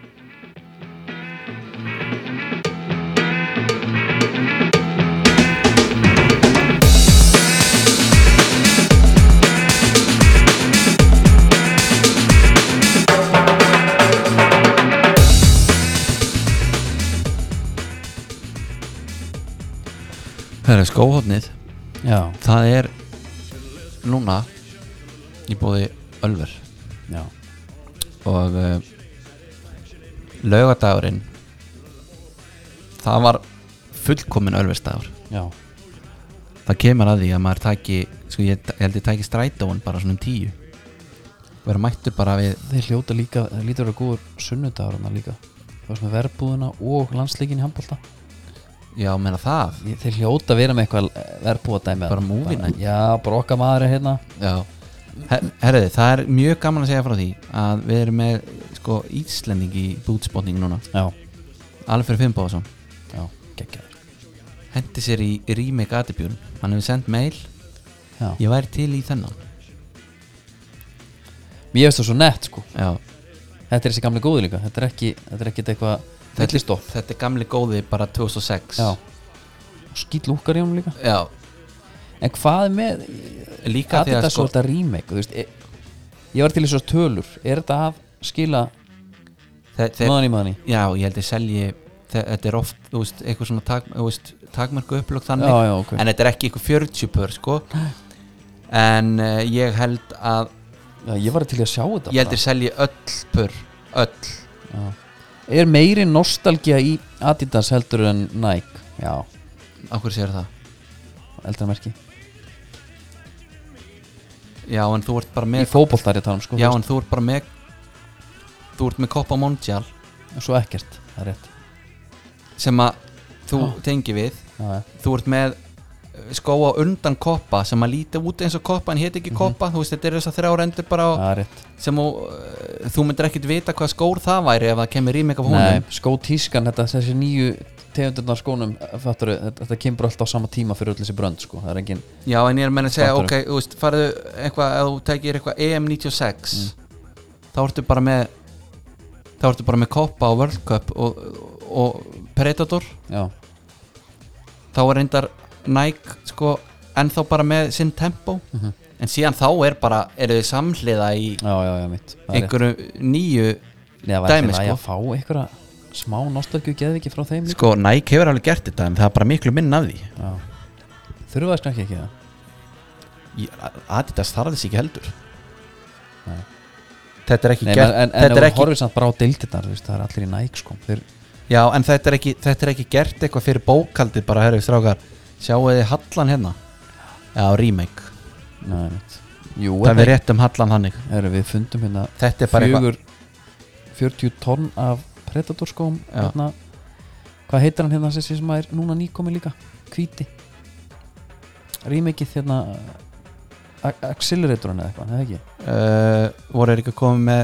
Speaker 3: Það er skóhóttnið,
Speaker 2: já,
Speaker 3: það er núna í bóði Ölver
Speaker 2: já,
Speaker 3: og uh, laugadagurinn það var fullkomin Ölversdagur
Speaker 2: já,
Speaker 3: það kemur að því að maður tæki sko ég, ég held ég tæki strætóin bara svona um tíu vera mættur bara við
Speaker 2: þeir hljóta líka þeir lítur að vera góður sunnudagur hann líka það var sem er verbúðuna og landsleikin í handbólta
Speaker 3: já meina það
Speaker 2: þeir hljóta að vera með eitthvað eh, verbúðadæmi
Speaker 3: Bara movie night.
Speaker 2: já, bara okkar maður er hérna
Speaker 3: Já Her, Herriði, það er mjög gaman að segja frá því að við erum með sko Íslending í bútspotning núna
Speaker 2: já,
Speaker 3: Alfred Fimboðsson
Speaker 2: já, geggjaður
Speaker 3: hendi sér í remake Adibjörn hann hefur sendt mail
Speaker 2: já,
Speaker 3: ég væri til í þennan
Speaker 2: mér finnst það svo nett sko
Speaker 3: Já,
Speaker 2: þetta er þessi gamli góði líka, þetta er ekki þetta er ekkit eitthvað, þetta er stopp
Speaker 3: þetta er gamli góði bara 2006
Speaker 2: já, og skýt lúkar í honum líka
Speaker 3: Já.
Speaker 2: en hvað með,
Speaker 3: líka
Speaker 2: hvað er
Speaker 3: þegar
Speaker 2: þetta
Speaker 3: sko
Speaker 2: svo þetta remake þú veist, ég, ég var til þess að tölur er þetta að skila
Speaker 3: þe þe
Speaker 2: maðan í maðan í
Speaker 3: Já, ég held ég selji þe- þetta er oft, þú veist, eitthvað svona tag, þú veist, takmarku upplögg þannig
Speaker 2: Já, já, ok.
Speaker 3: en þetta er ekki eitthvað 40 pör sko en uh, ég held að
Speaker 2: já, ég var til í að sjá þetta
Speaker 3: ég held ég selji öll pör öll
Speaker 2: bara. Já. Er meiri nostalgía í Adidas heldur en Nike Já,
Speaker 3: Af hverju sér það?
Speaker 2: eldra merki
Speaker 3: Já, en þú ert bara
Speaker 2: Í
Speaker 3: með
Speaker 2: fótbolta er ég að tala um sko
Speaker 3: Já,
Speaker 2: fyrst.
Speaker 3: en þú ert bara með Þú ert með Copa Mondial
Speaker 2: Svo ekkert, það er rétt
Speaker 3: sem að þú tengi við
Speaker 2: Já, já.
Speaker 3: Þú ert með eh, skóa undan Copa sem að líti út eins og Copa en hétt ekki Copa, þú veist þetta eru þess að þrjá rendur bara á,
Speaker 2: Það er rétt
Speaker 3: sem þú, eh, þú myndir ekkit vita hvað skór það væri ef það kemur í mig af
Speaker 2: Nei,
Speaker 3: honum
Speaker 2: skótískan, þetta, þessi nýju tegundurnar skónum fattur, þetta, þetta kemur alltaf á sama tíma fyrir öll þessi brönd sko. það er engin,
Speaker 3: Já, en ég er meina að segja,
Speaker 2: Fattar
Speaker 3: ok, þú veist, farðu eitthvað, ef þú tekir eitthvað E EM96 þá ertu bara með þá ertu bara með Copa og World Cup og, og Predator
Speaker 2: já,
Speaker 3: þá er reyndar Nike sko ennþá bara með sinn tempo en síðan þá er bara eru þið samhliða í
Speaker 2: já, já, já, mitt það er rétt.
Speaker 3: einhverju nýju
Speaker 2: Nei, það
Speaker 3: dæmi,
Speaker 2: væri sko.
Speaker 3: sko.
Speaker 2: að fá einhverja smá nostalgju geðviki frá þeim líka.
Speaker 3: sko Nike hefur alveg gert þetta en það er bara miklu minna af því
Speaker 2: þurfa þess kannski ekki það
Speaker 3: Ég- Adidas þarf þess ekki heldur þetta er ekki
Speaker 2: Nei,
Speaker 3: gert
Speaker 2: en, en, en
Speaker 3: þetta er
Speaker 2: ef
Speaker 3: ekki,
Speaker 2: horfið samt bara á deildirnar þú veist, það er allir í næk sko. Þeir,
Speaker 3: já, en þetta er ekki þetta er ekki gert eitthvað fyrir bókaldið bara herru strákar sjáu þið Hallan hérna já, remake
Speaker 2: nei, mitt. Jú,
Speaker 3: það
Speaker 2: er
Speaker 3: er rétt um Hallan þannig
Speaker 2: Heru, við fundum hérna
Speaker 3: þetta er bara eitthvað
Speaker 2: fjögur, 40 tonn af Predator skóm
Speaker 3: Já.
Speaker 2: hérna, hvað heitir hann hérna þessi sem er núna nýkomi líka hvíti rýmikið hérna a- acceleratorinn eða eitthvað, eða ekki
Speaker 3: uh, voru þeir ekki að koma með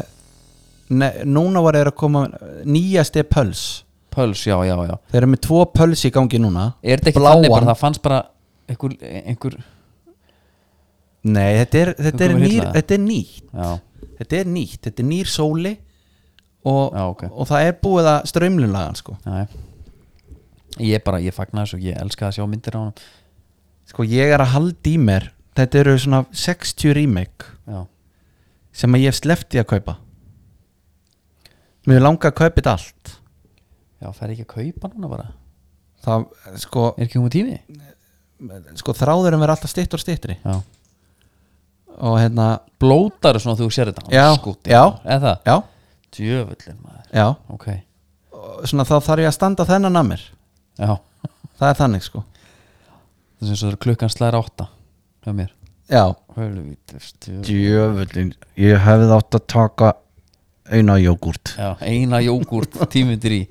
Speaker 3: ne, núna voru þeir að koma uh, nýjasti er pöls
Speaker 2: Pulse, já, já, já
Speaker 3: þeir eru með tvo pöls í gangi núna
Speaker 2: er þetta ekki
Speaker 3: Bláan.
Speaker 2: þannig bara, það fannst bara einhver, einhver
Speaker 3: nei, þetta er, þetta er,
Speaker 2: Þú komir
Speaker 3: nýr,
Speaker 2: illa.
Speaker 3: þetta er nýtt
Speaker 2: já,
Speaker 3: þetta er nýtt, þetta er nýr sóli og,
Speaker 2: Já, ok.
Speaker 3: og það er búið að strömlunlagan sko.
Speaker 2: já ég bara, ég fagna þessu, ég elska að sjá myndir á hann
Speaker 3: sko ég er að halda í mér þetta eru svona 60 remake
Speaker 2: já,
Speaker 3: sem að ég hef sleppt í að kaupa mér langar að kaupa þetta allt
Speaker 2: já, fer ekki að kaupa núna bara
Speaker 3: það, sko,
Speaker 2: er ekki komið tími?
Speaker 3: sko þráðurum verður alltaf styttur og styttri
Speaker 2: já,
Speaker 3: og hérna,
Speaker 2: blótar svona þú sér þetta
Speaker 3: Já,
Speaker 2: skúti,
Speaker 3: já.
Speaker 2: eða það
Speaker 3: já,
Speaker 2: djöfullin maður
Speaker 3: já
Speaker 2: ok,
Speaker 3: og svona þá þarf ég að standa þennan að mér
Speaker 2: já
Speaker 3: það er þannig sko
Speaker 2: það sem svo er klukkan slæðir átta hjá mér
Speaker 3: já
Speaker 2: Hölvíti, stu-
Speaker 3: djöfullin, ég hefði átt að taka eina jógurt
Speaker 2: já, eina jógurt tímundir í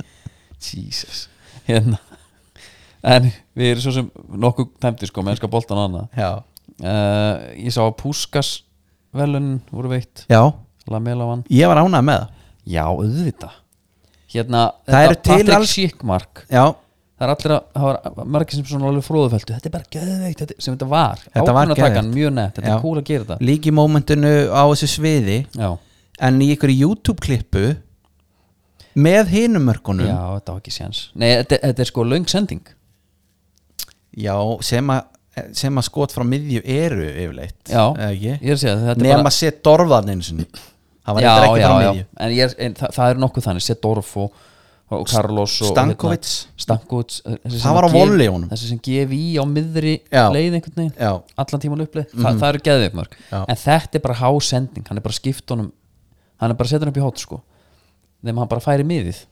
Speaker 2: Jesus hérna en við erum svo sem nokkuð tæmdi sko mennska boltan og annað
Speaker 3: já,
Speaker 2: uh, ég sá að Púskas velun voru veitt
Speaker 3: já
Speaker 2: Lamela vann
Speaker 3: ég var ánað með það
Speaker 2: já, auðvita hérna,
Speaker 3: Það eru til
Speaker 2: Patrick
Speaker 3: alls-
Speaker 2: alls... Schickmark
Speaker 3: já,
Speaker 2: það er allir að, það var margir sem svona alveg fróðufeltu þetta er bara geðveikt, þetta, sem þetta var
Speaker 3: Þetta var
Speaker 2: ákvörðunartakan
Speaker 3: geðveikt.
Speaker 2: mjög nett, þetta
Speaker 3: Já.
Speaker 2: er cool að gera þetta
Speaker 3: líki mómentinu á þessu sviði
Speaker 2: já,
Speaker 3: en í ykkur YouTube klippu með hinum
Speaker 2: já,
Speaker 3: mörkunum
Speaker 2: þetta var ekki séns nei, þetta, þetta er sko löng sending
Speaker 3: já, sem að sem að skot frá miðju eru yfirleitt
Speaker 2: Já,
Speaker 3: eða ekki?
Speaker 2: ég er að segja þetta
Speaker 3: nema bara... set dorfðan eins og það var
Speaker 2: já,
Speaker 3: eitthvað ekki
Speaker 2: já, já,
Speaker 3: frá miðju
Speaker 2: en, ég er, en það, það er nokkuð þannig Sedorf og, og Carlos og,
Speaker 3: Stankovic.
Speaker 2: hérna, Stankovic þessi sem
Speaker 3: Það var á
Speaker 2: að gef-
Speaker 3: volley honum.
Speaker 2: þessi sem gef í á miðri
Speaker 3: Já.
Speaker 2: leið einhvern veginn
Speaker 3: Já.
Speaker 2: allan tíman uppleið, Þa, það eru geðveik mörg
Speaker 3: Já.
Speaker 2: en þetta er bara hásending, hann er bara skipt honum hann er bara að setja hann upp í hótt sko þegar hann bara færi miðið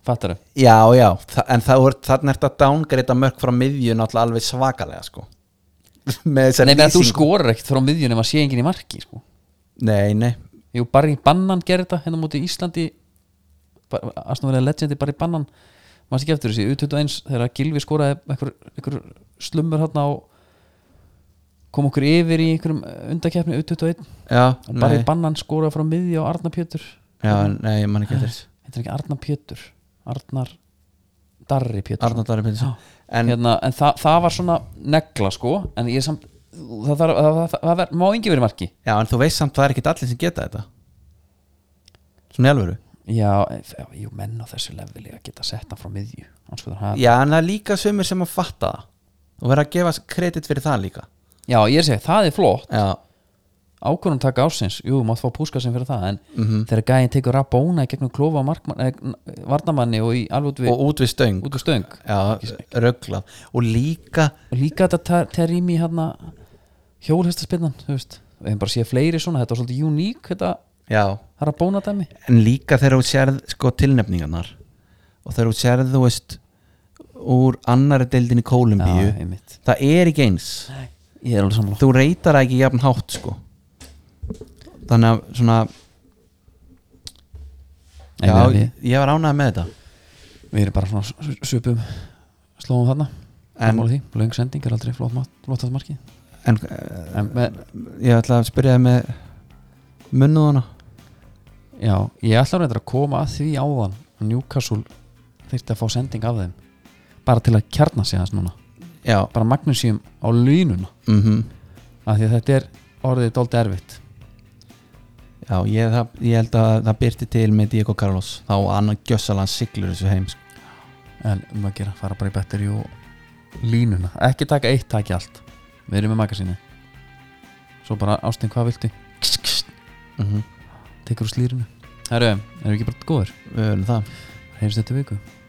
Speaker 2: fattar þau,
Speaker 3: Já, já, þa en það, þannig er þetta dángreita mörg frá miðju náttúrulega alveg svakalega sko með þessar
Speaker 2: nei meðan þú sko-
Speaker 3: lýsingu.
Speaker 2: skorar ekkert frá miðjunum að sé enginn í marki sko
Speaker 3: Nei, nei,
Speaker 2: Jú, Barry Bannan gerði þetta hérna mútið Íslandi Aston Villa legendi Barry Bannan maður ekki eftir þessi, U21 þegar Gilvi skoraði einhver, einhver slumur hérna og kom okkur yfir í einhverjum eh, undakeppni U21
Speaker 3: já,
Speaker 2: og
Speaker 3: nei
Speaker 2: Barry Bannan skoraði frá miðja og Arnar Pétur
Speaker 3: Já, nei, ég man ekki eftir þessu
Speaker 2: heitir hann ekki Arnar Pétur Arnar Darri Pétur
Speaker 3: Arnar Darri Pétursson
Speaker 2: en,
Speaker 3: En,
Speaker 2: hérna, en það, það var svona negla sko en ég samt það, það, það, það, það, það má engi verið marki
Speaker 3: já, en þú veist samt það er ekkit allir sem geta þetta Svona í alvöru
Speaker 2: Já, en- já, jú, menn á þessu leveli að geta sett hann sko, frá miðju Andskotar, ha-
Speaker 3: Já, en það er líka sömur sem að fatta það og vera að gefa kredit fyrir það líka
Speaker 2: Já, ég er segið, það er flott
Speaker 3: Já,
Speaker 2: Ákvörðum taka ásins, jú, mátt fá púskasinn fyrir það En
Speaker 3: Mhm.
Speaker 2: þegar gæinn tekur að bóna í gegnum klofa markmann, eh, n- varnamanni og í alveg út við,
Speaker 3: og út við stöng
Speaker 2: út við stöng
Speaker 3: Já, rögglað Og líka,
Speaker 2: Og líka þetta terými hérna hjólhestaspinnan, þú veist Við hefum bara séð fleiri svona, þetta var svolítið uník þetta
Speaker 3: já
Speaker 2: það er að bóna dæmi
Speaker 3: en líka þegar þú sérð sko tilnefningarnar og þegar þú sérð þú veist úr annari deildin í Kólumbíu
Speaker 2: Já, einmitt.
Speaker 3: það er ekki eins
Speaker 2: ég er alveg sammála
Speaker 3: þú reytar það ekki jafn hátt sko þannig að svona
Speaker 2: En
Speaker 3: já,
Speaker 2: við,
Speaker 3: ég var ánægð með þetta
Speaker 2: við erum bara svona s- svipum slóðum þarna
Speaker 3: En-
Speaker 2: Sammála því, löng sending er aldrei flott, mat- flott að marki
Speaker 3: en
Speaker 2: en með,
Speaker 3: eh, ég ætla að spyrja það með munnuðuna
Speaker 2: já, ég ætla reyndar að koma að því áðan að Newcastle þyrfti að fá sending af þeim bara til að kjarna sig þess núna
Speaker 3: já,
Speaker 2: bara magnusíum á línuna
Speaker 3: mhm
Speaker 2: af því að þetta er orðið dóldi erfitt
Speaker 3: já ég, það, ég held að það byrti til með Diego Carlos þá annar gjössalann siglur þessu heim sko.
Speaker 2: en um að gera, fara bara í betteri og línuna, ekki taka eitt, taka allt við erum með magasínu svo bara ástinn hvað viltu
Speaker 3: mm
Speaker 2: tekur úr slýrinu herru, erum við ekki bara góður,
Speaker 3: við verðum það
Speaker 2: heyrst þetta viku